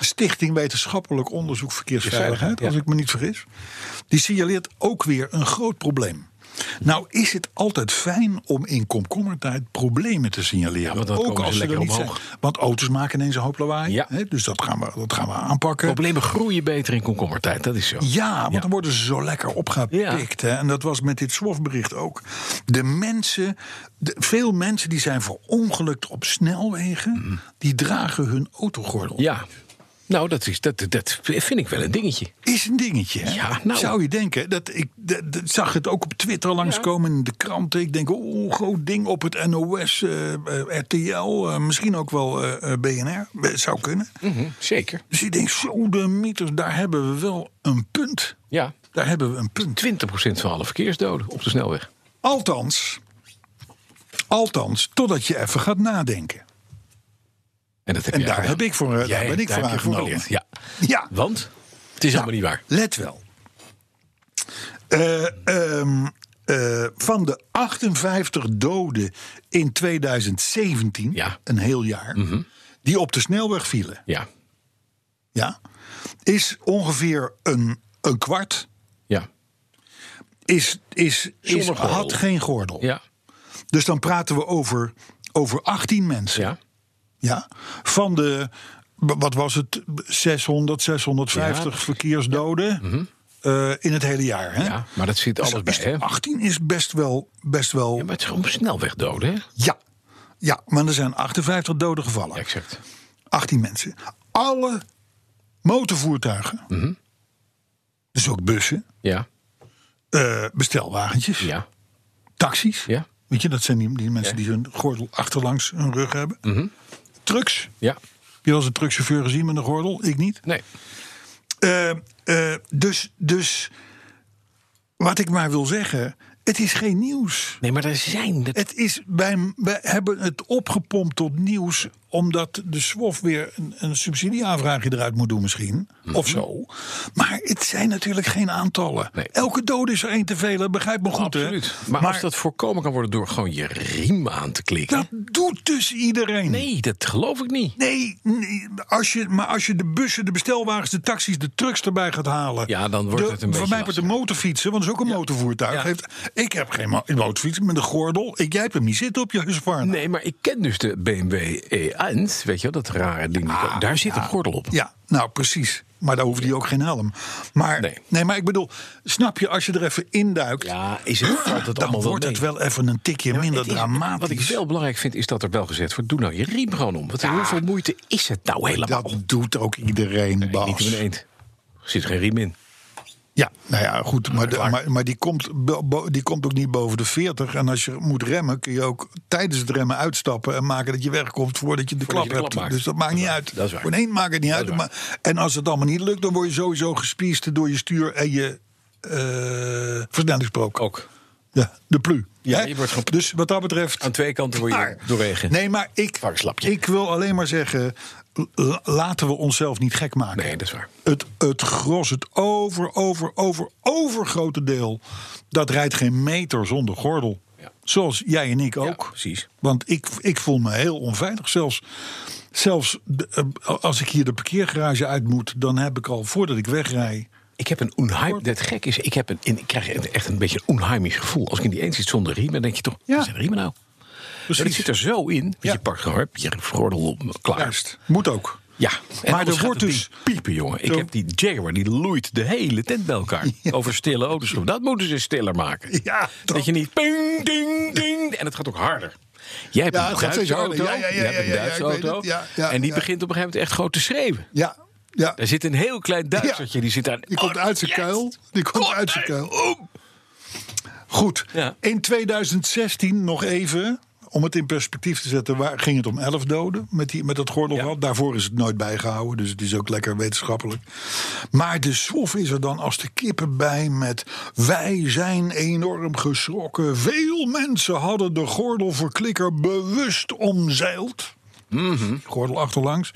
C: Stichting Wetenschappelijk Onderzoek Verkeersveiligheid,
B: Ja.
C: als ik me niet vergis. Die signaleert ook weer een groot probleem. Nou is het altijd fijn om in komkommertijd problemen te signaleren.
B: want dan
C: ook
B: komen ze
C: als
B: lekker
C: er niet
B: omhoog.
C: zijn. Want auto's maken ineens een hoop lawaai.
B: Ja.
C: hè, dus dat gaan, we, dat gaan we aanpakken.
B: Problemen groeien beter in komkommertijd, dat is zo.
C: Ja, want dan worden ze zo lekker opgepikt. Hè? En dat was met dit SWOF-bericht ook. De mensen, de- veel mensen die zijn verongelukt op snelwegen, die dragen hun autogordel.
B: Mhm. Ja. Nou, dat, is, dat, dat vind ik wel een dingetje.
C: Is een dingetje. Hè?
B: Ja, nou.
C: Zou je denken, dat ik dat, dat zag het ook op Twitter langskomen in de kranten. Ik denk, oh, groot ding op het NOS, eh, eh, RTL, eh, misschien ook wel eh, eh, BNR. Eh, Zou kunnen.
B: Hm. Zeker.
C: Dus ik denk, zo de mythes, daar hebben we wel een punt.
B: Ja.
C: Daar hebben we een punt.
B: 20% van alle verkeersdoden op de snelweg.
C: Althans, althans, totdat je even gaat nadenken.
B: En, dat heb
C: En
B: jij
C: daar,
B: gedaan.
C: heb ik voor, eh, daar
B: Jij-
C: ben ik
B: daar
C: voor
B: heb je
C: aangenomen.
B: geleerd. Ja.
C: Ja,
B: Want? Het is helemaal niet waar.
C: let wel. Eh, ehm, eh, van de 58 doden in 2017,
B: Ja. Mhm.
C: een heel jaar, die op de snelweg vielen,
B: Ja.
C: ja, is ongeveer een, een kwart.
B: Ja.
C: Is, is, is,
B: Zonder gordel.
C: had geen gordel.
B: Ja.
C: Dus dan praten we over, over 18 mensen.
B: Ja.
C: Ja, van de, b- wat was het, 600, 650
B: Ja. Mhm.
C: verkeersdoden eh, in het hele jaar. Hè?
B: Ja, maar dat zit
C: Dus
B: alles bij,
C: is-
B: hè?
C: 18 is best wel, best wel,
B: Ja,
C: ja.
B: maar het is gewoon snelwegdoden, hè?
C: ja. maar er zijn 58 doden gevallen.
B: Exact.
C: 18 mensen. Alle motorvoertuigen,
B: Mhm.
C: dus ook bussen,
B: Ja,
C: eh, bestelwagentjes,
B: ja,
C: taxis.
B: ja,
C: Weet je, dat zijn die, die mensen die hun gordel achterlangs hun rug hebben.
B: Mhm.
C: Trucks. Heb
B: ja.
C: je wel eens een truckchauffeur gezien met een gordel? Ik niet.
B: Nee,
C: Eh, eh, dus, dus wat ik maar wil zeggen, het is geen nieuws.
B: nee maar er zijn... Dat...
C: Het is, wij, wij hebben het opgepompt tot nieuws omdat de SWOF weer een, een subsidieaanvraagje eruit moet doen misschien.
B: Mhm.
C: Of zo. Maar het zijn natuurlijk geen aantallen.
B: Nee.
C: Elke dood is er één te veel, begrijp me goed.
B: Absoluut.
C: Hè?
B: Maar, als dat voorkomen kan worden door gewoon je riem aan te klikken...
C: dat doet dus iedereen.
B: Nee, dat geloof ik niet.
C: Nee, nee, als je, maar als je de bussen, de bestelwagens, de taxis, de trucks erbij gaat halen.
B: Ja, dan wordt
C: de-
B: het een beetje
C: Voor mij wordt de motorfietsen, want dat is ook een motorvoertuig.
B: Ja.
C: Heeft, ik heb geen mo- motorfiets met een gordel. Ik, jij hebt hem niet zitten op je husvarna.
B: Nee, maar ik ken dus de BMW E1, E weet je wel, dat rare ding. Daar zit een gordel op.
C: Ja, nou precies. Maar daar hoeft hij ook geen helm. Maar,
B: Nee.
C: nee. maar ik bedoel, snap je, als je er even induikt.
B: Ja, is het, valt het
C: dan
B: allemaal wel
C: wordt het
B: mee?
C: wel even een tikje minder
B: Het is-
C: dramatisch.
B: Wat ik wel belangrijk vind, is dat er wel gezegd wordt... doe nou je riem gewoon om. Want hoeveel moeite is het nou helemaal?
C: Dat doet ook iedereen, Bas.
B: Niet in een eend. Er zit geen riem in.
C: Ja, nou ja, goed. Maar, de- maar, maar die, komt, bo- bo- die komt ook niet boven de 40. En als je moet remmen, kun je ook tijdens het remmen uitstappen en maken dat je wegkomt voordat je de, klap,
B: Voordat je de klap
C: hebt.
B: maakt.
C: Dus dat maakt
B: Dat is
C: niet
B: waar.
C: uit.
B: Dat is waar.
C: Voor een maakt het niet uit.
B: is
C: Maar, en als het allemaal niet lukt, dan word je sowieso gespiest door je stuur en je eh versnellingsbrook.
B: Ook.
C: Ja, de plu.
B: Oh. Ja,
C: Hè?
B: je wordt gewoon-
C: Dus wat dat betreft.
B: Aan twee kanten word je
C: Maar-
B: doorregen.
C: Nee, maar ik,
B: Varkenslapje.
C: ik wil alleen maar zeggen. la- Laten we onszelf niet gek maken.
B: Nee, dat is waar.
C: Het, het gros, het over, over, over, overgrote deel. dat rijdt geen meter zonder gordel.
B: Ja.
C: Zoals jij en ik ook.
B: precies.
C: Want ik, ik voel me heel onveilig. Zelfs, zelfs de- eh, als ik hier de parkeergarage uit moet. dan heb ik al voordat ik wegrij.
B: Ik heb een onheim. Dat gek is, ik, heb een, ik krijg een- echt een beetje een onheimisch gevoel. Als ik in die eens zit zonder riemen, dan denk je toch,
C: Ja.
B: waar zijn de riemen nou? Maar het zit er zo in. want
C: Ja.
B: Je pakt gewoon, hup, je gordel op, klaar.
C: Juist. Moet ook.
B: Ja,
C: Maar
B: anders
C: er
B: gaat
C: wordt
B: het
C: dus-
B: ding piepen, jongen. Ik
C: Zo.
B: heb die Jaguar, die loeit de hele tent bij elkaar. Over stille auto's. Dat moeten ze stiller maken.
C: Ja,
B: dat,
C: dat-
B: je niet ping, ding, ding. En het gaat ook harder. Jij hebt
C: Ja,
B: een
C: het gaat
B: Duitse
C: steeds harder.
B: auto.
C: Ja, ja, ja,
B: jij hebt
C: ja,
B: een
C: ja, ja,
B: Duitse
C: ik weet
B: auto.
C: het. Ja, ja,
B: en die
C: ja.
B: begint op een gegeven moment echt gewoon te schreeuwen.
C: Ja, ja.
B: Daar zit een heel klein Duitsertje,
C: Ja.
B: die zit daar.
C: Die komt
B: Oh,
C: uit zijn
B: yes.
C: kuil. Die komt uit zijn kuil. Goed.
B: Ja.
C: In 2016 nog even. Om het in perspectief te zetten, waar ging het om 11 doden met, die, met dat gordelrad? Daarvoor is het nooit bijgehouden, dus het is ook lekker wetenschappelijk. Maar de SWOF is er dan als de kippen bij met... wij zijn enorm geschrokken. Veel mensen hadden de gordelverklikker bewust omzeild. Gordel achterlangs,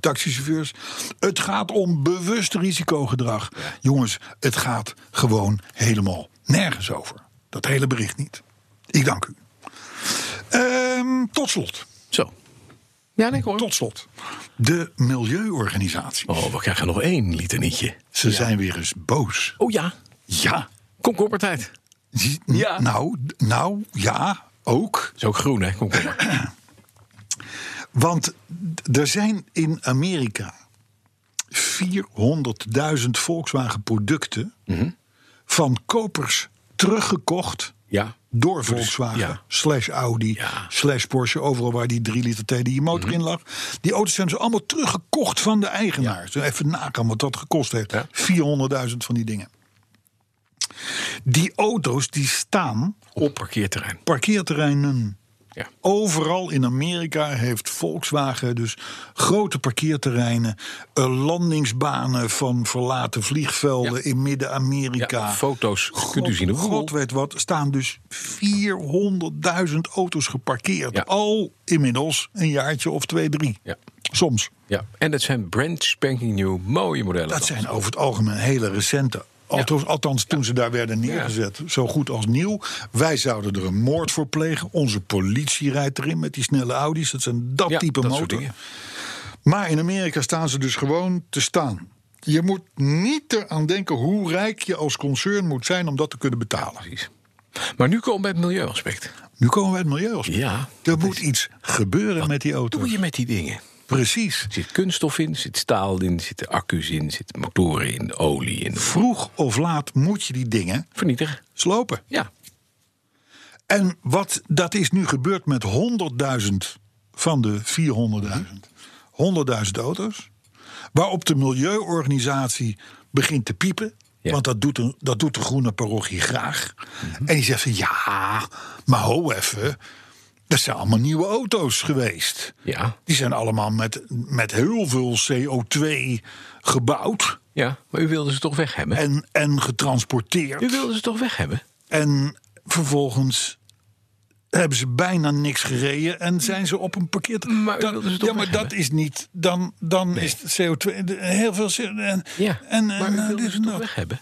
C: taxichauffeurs. Het gaat om bewust risicogedrag. Jongens, het gaat gewoon helemaal nergens over. Dat hele bericht niet. Ik dank u. Ehm, tot slot,
B: Zo. Ja, nee, hoor.
C: tot slot. De milieuorganisaties.
B: Oh, we krijgen nog één litanietje.
C: Ze zijn weer eens boos.
B: Oh ja,
C: Ja.
B: komkommertijd. Ja.
C: Nou, nou, ja, ook.
B: Is ook groen, hè, komkommer.
C: Want d- er zijn in Amerika 400.000 Volkswagen producten
B: Mhm.
C: van kopers teruggekocht
B: Ja.
C: door Volkswagen.
B: ja.
C: Slash Audi,
B: Ja. Mhm.
C: slash Porsche, overal waar die 3 liter TDI motor in lag. Die auto's zijn ze allemaal teruggekocht van de eigenaar. Zo Even nagaan wat dat gekost heeft.
B: Ja.
C: 400.000 van die dingen. Die auto's die staan
B: Op parkeerterrein.
C: parkeerterreinen.
B: Ja.
C: Overal in Amerika heeft Volkswagen dus grote parkeerterreinen, eh, landingsbanen van verlaten vliegvelden
B: Ja.
C: in Midden-Amerika.
B: Ja, foto's kunt u zien op Google.
C: God weet wat, staan dus 400.000 auto's geparkeerd.
B: Ja.
C: Al inmiddels een jaartje of twee, drie.
B: Ja.
C: Soms.
B: Ja, en dat zijn brand spanking new mooie modellen.
C: Dat
B: dan.
C: zijn over het algemeen hele recente. Althans, althans toen ze daar werden neergezet, zo goed als nieuw. Wij zouden er een moord voor plegen. Onze politie rijdt erin met die snelle Audi's. Dat zijn dat
B: Ja,
C: type
B: dat soort
C: motor.
B: dingen.
C: Maar in Amerika staan ze dus gewoon te staan. Je moet niet eraan denken hoe rijk je als concern moet zijn om dat te kunnen betalen.
B: Precies. Maar nu komen we bij het milieuaspect.
C: Nu komen we bij het milieu. als-
B: Ja.
C: Er moet iets gebeuren met die
B: Wat doe
C: auto's.
B: je met die dingen?
C: Precies.
B: Er zit kunststof in, er zit staal in, er zitten accu's in, er zitten motoren in, olie in.
C: Vroeg of laat moet je die dingen
B: Vernietigen.
C: slopen.
B: Ja.
C: En wat, dat is nu gebeurd met 100.000 van de 400.000. 100.000 auto's. Waarop de milieuorganisatie begint te piepen.
B: Ja. Mhm.
C: Want dat doet, een, dat doet de groene parochie graag. En die zegt van ja, maar ho even. Dat zijn allemaal nieuwe auto's geweest.
B: Ja.
C: Die zijn allemaal met, met heel veel CO2 gebouwd
B: Ja, maar u wilde ze toch weg hebben?
C: en, en getransporteerd.
B: U wilde ze toch weg hebben?
C: En vervolgens hebben ze bijna niks gereden en zijn ze op een parkeer.
B: Maar
C: Dan-
B: wilden ze toch
C: ja, maar
B: weg
C: dat
B: hebben?
C: is niet. Dan, dan is het CO2 de- heel veel. CO2 En,
B: Ja.
C: en,
B: maar
C: en,
B: u
C: eh,
B: wilde
C: dit
B: ze
C: en
B: toch
C: dat.
B: weg hebben?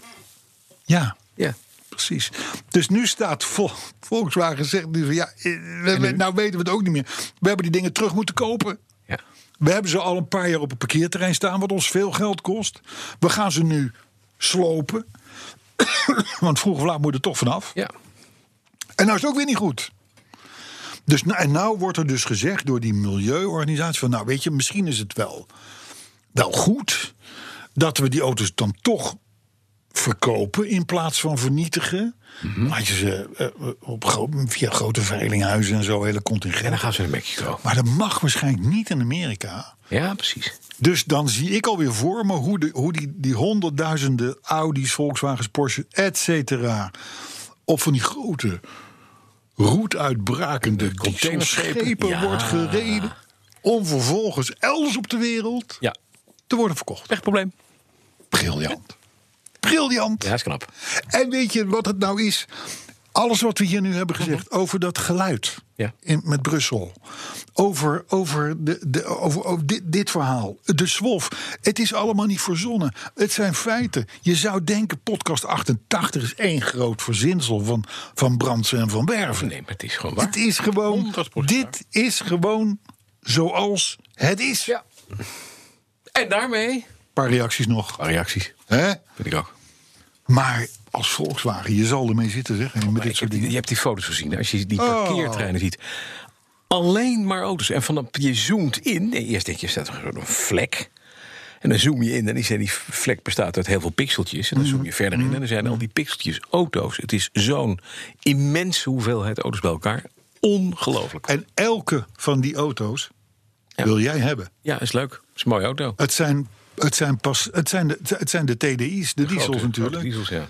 C: Ja,
B: Ja.
C: precies. Dus nu staat Vol- Volkswagen zegt nu van ja, eh, we, we- nou weten we het ook niet meer. We hebben die dingen terug moeten kopen.
B: Ja.
C: We hebben ze al een paar jaar op een parkeerterrein staan, wat ons veel geld kost. We gaan ze nu slopen. Want vroeg of laat moet het toch vanaf.
B: Ja.
C: En nou is het ook weer niet goed. Dus, nou- en nou wordt er dus gezegd door die milieuorganisatie van... nou weet je, misschien is het wel, wel goed dat we die auto's dan toch verkopen in plaats van vernietigen. Dan Had je ze eh, op, gro- via grote veilinghuizen en zo hele
B: En dan
C: contingent.
B: gaan ze naar Mexico.
C: Maar dat mag waarschijnlijk niet in Amerika.
B: Ja, precies.
C: Dus dan zie ik alweer voor me hoe, de, hoe die, die honderdduizenden Audi's, Volkswagens, Porsche, et cetera. op van die grote, roetuitbrakende
B: containerschepen.
C: containerschepen
B: Ja.
C: wordt gereden. om vervolgens elders op de wereld
B: Ja,
C: te worden verkocht.
B: echt probleem.
C: Briljant. Briljant.
B: Ja, is knap.
C: En weet je wat het nou is? Alles wat we hier nu hebben gezegd over dat geluid
B: Mhm. Ja.
C: in, met Brussel. Over, over, de, de, over, over dit, dit verhaal. De zwolf. Het is allemaal niet verzonnen. Het zijn feiten. Je zou denken, podcast 88 is één groot verzinsel van, van Brandsen en van Werven.
B: Nee, maar het is gewoon waar.
C: Het is gewoon,
B: 100%
C: dit is gewoon zoals het is.
B: Ja. En daarmee...
C: Een paar reacties nog.
B: reacties.
C: Hè?
B: Vind ik ook.
C: Maar als Volkswagen, je zal ermee zitten zeggen met dit
B: Ik heb
C: soort
B: die-
C: dingen.
B: je hebt die foto's gezien. Als je die
C: Oh.
B: parkeertreinen ziet. Alleen maar auto's. En van, je zoomt in. En eerst denk je, staat er een vlek. En dan zoom je in en die, zijn- die vlek bestaat uit heel veel pixeltjes. En dan zoom je verder in en dan zijn al die pixeltjes auto's. Het is zo'n immense hoeveelheid auto's bij elkaar. Ongelooflijk.
C: En elke van die auto's wil jij hebben.
B: Ja, is leuk. Is een mooie auto.
C: Het zijn, het zijn, pas, het zijn, de, het zijn de TDI's, de, diesels
B: Grote-
C: natuurlijk.
B: grote Diesels, ja.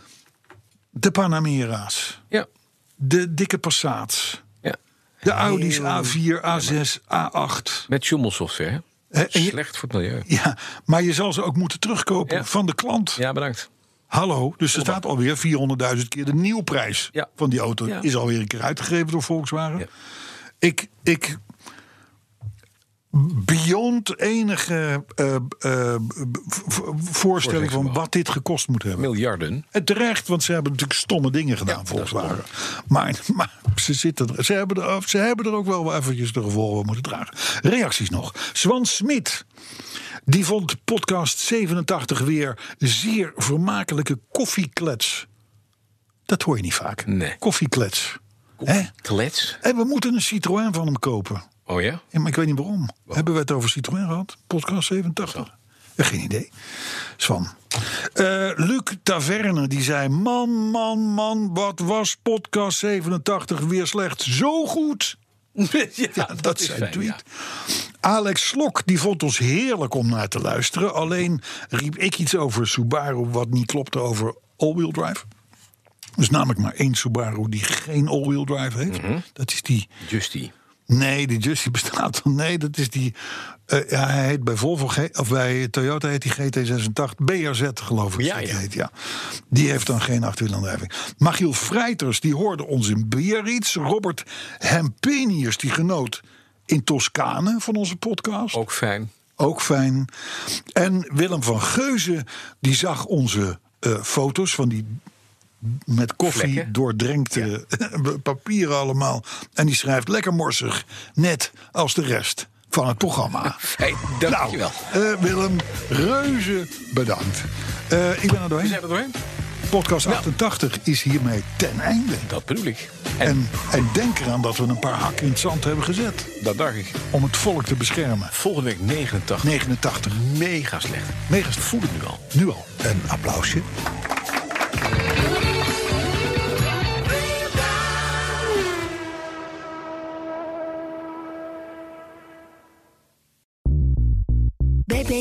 C: De Panamera's,
B: Ja.
C: de dikke Passats,
B: ja.
C: de Audi's A4, A6, A8.
B: Met schommelsoftware. hè?
C: Hè, en je-
B: Slecht voor het milieu.
C: Ja, maar je zal ze ook moeten terugkopen
B: Ja.
C: van de klant.
B: Ja, bedankt.
C: Hallo, dus er staat alweer 400.000 keer de nieuwprijs
B: Ja.
C: van die auto.
B: Ja.
C: Is alweer een keer uitgegeven door Volkswagen.
B: Ja.
C: Ik, ik, beyond enige eh, eh, v- v- voorstelling van wat dit gekost moet hebben.
B: Miljarden.
C: En terecht, want ze hebben natuurlijk stomme dingen gedaan, Volkswagen. Maar, maar ze, zitten er, ze, hebben er, ze hebben er ook wel wel eventjes de gevolgen van moeten dragen. Reacties nog. Swan Smit, die vond podcast 87 weer zeer vermakelijke koffieklets. Dat hoor je niet vaak.
B: Nee.
C: Koffieklets. Hè?
B: Klets.
C: En we moeten een Citroën van hem kopen.
B: Oh ja?
C: Ja, maar ik weet niet waarom. Hebben we het over Citroën gehad? Podcast 87? Ja, Geen idee. Swan. Eh, Luc Taverne die zei: Man, man, man, wat was podcast 87 weer slecht? Zo goed! Nou,
B: ja,
C: dat, is zijn
B: fijn,
C: tweet.
B: ja.
C: Alex Slok die vond ons heerlijk om naar te luisteren. Alleen riep ik iets over Subaru wat niet klopte over all-wheel drive. Dus namelijk maar één Subaru die geen all-wheel drive heeft. Dat is die
B: Justy.
C: Nee, die Justy bestaat al. Nee, dat is die. eh, ja, hij heet bij Volvo G- of bij Toyota heet die GT86 BRZ, geloof ik.
B: Ja,
C: dat
B: ja.
C: Heet, ja. Die heeft dan geen achterwielaandrijving. Machiel Vrijters, die hoorde ons in Biarritz. Robert Hempenius, die genoot in Toscane van onze podcast.
B: Ook fijn.
C: Ook fijn. En Willem van Geuzen, die zag onze eh, foto's van die met koffie
B: Vlekken.
C: doordrenkte papieren allemaal. En die schrijft lekker morsig, net als de rest van het programma.
B: Hey, dankjewel.
C: Eh, Willem, reuze bedankt. Eh, ik ben er
B: We
C: doorheen.
B: zijn er doorheen.
C: Podcast 88 is hiermee ten einde.
B: Dat bedoel ik. En,
C: En, en denk eraan dat we een paar hakken in het zand hebben gezet.
B: dat dacht ik.
C: Om het volk te beschermen.
B: Volgende week 89.
C: 89.
B: Mega slecht.
C: Mega
B: Ik voel het nu al.
C: Nu al een applausje.
E: Bij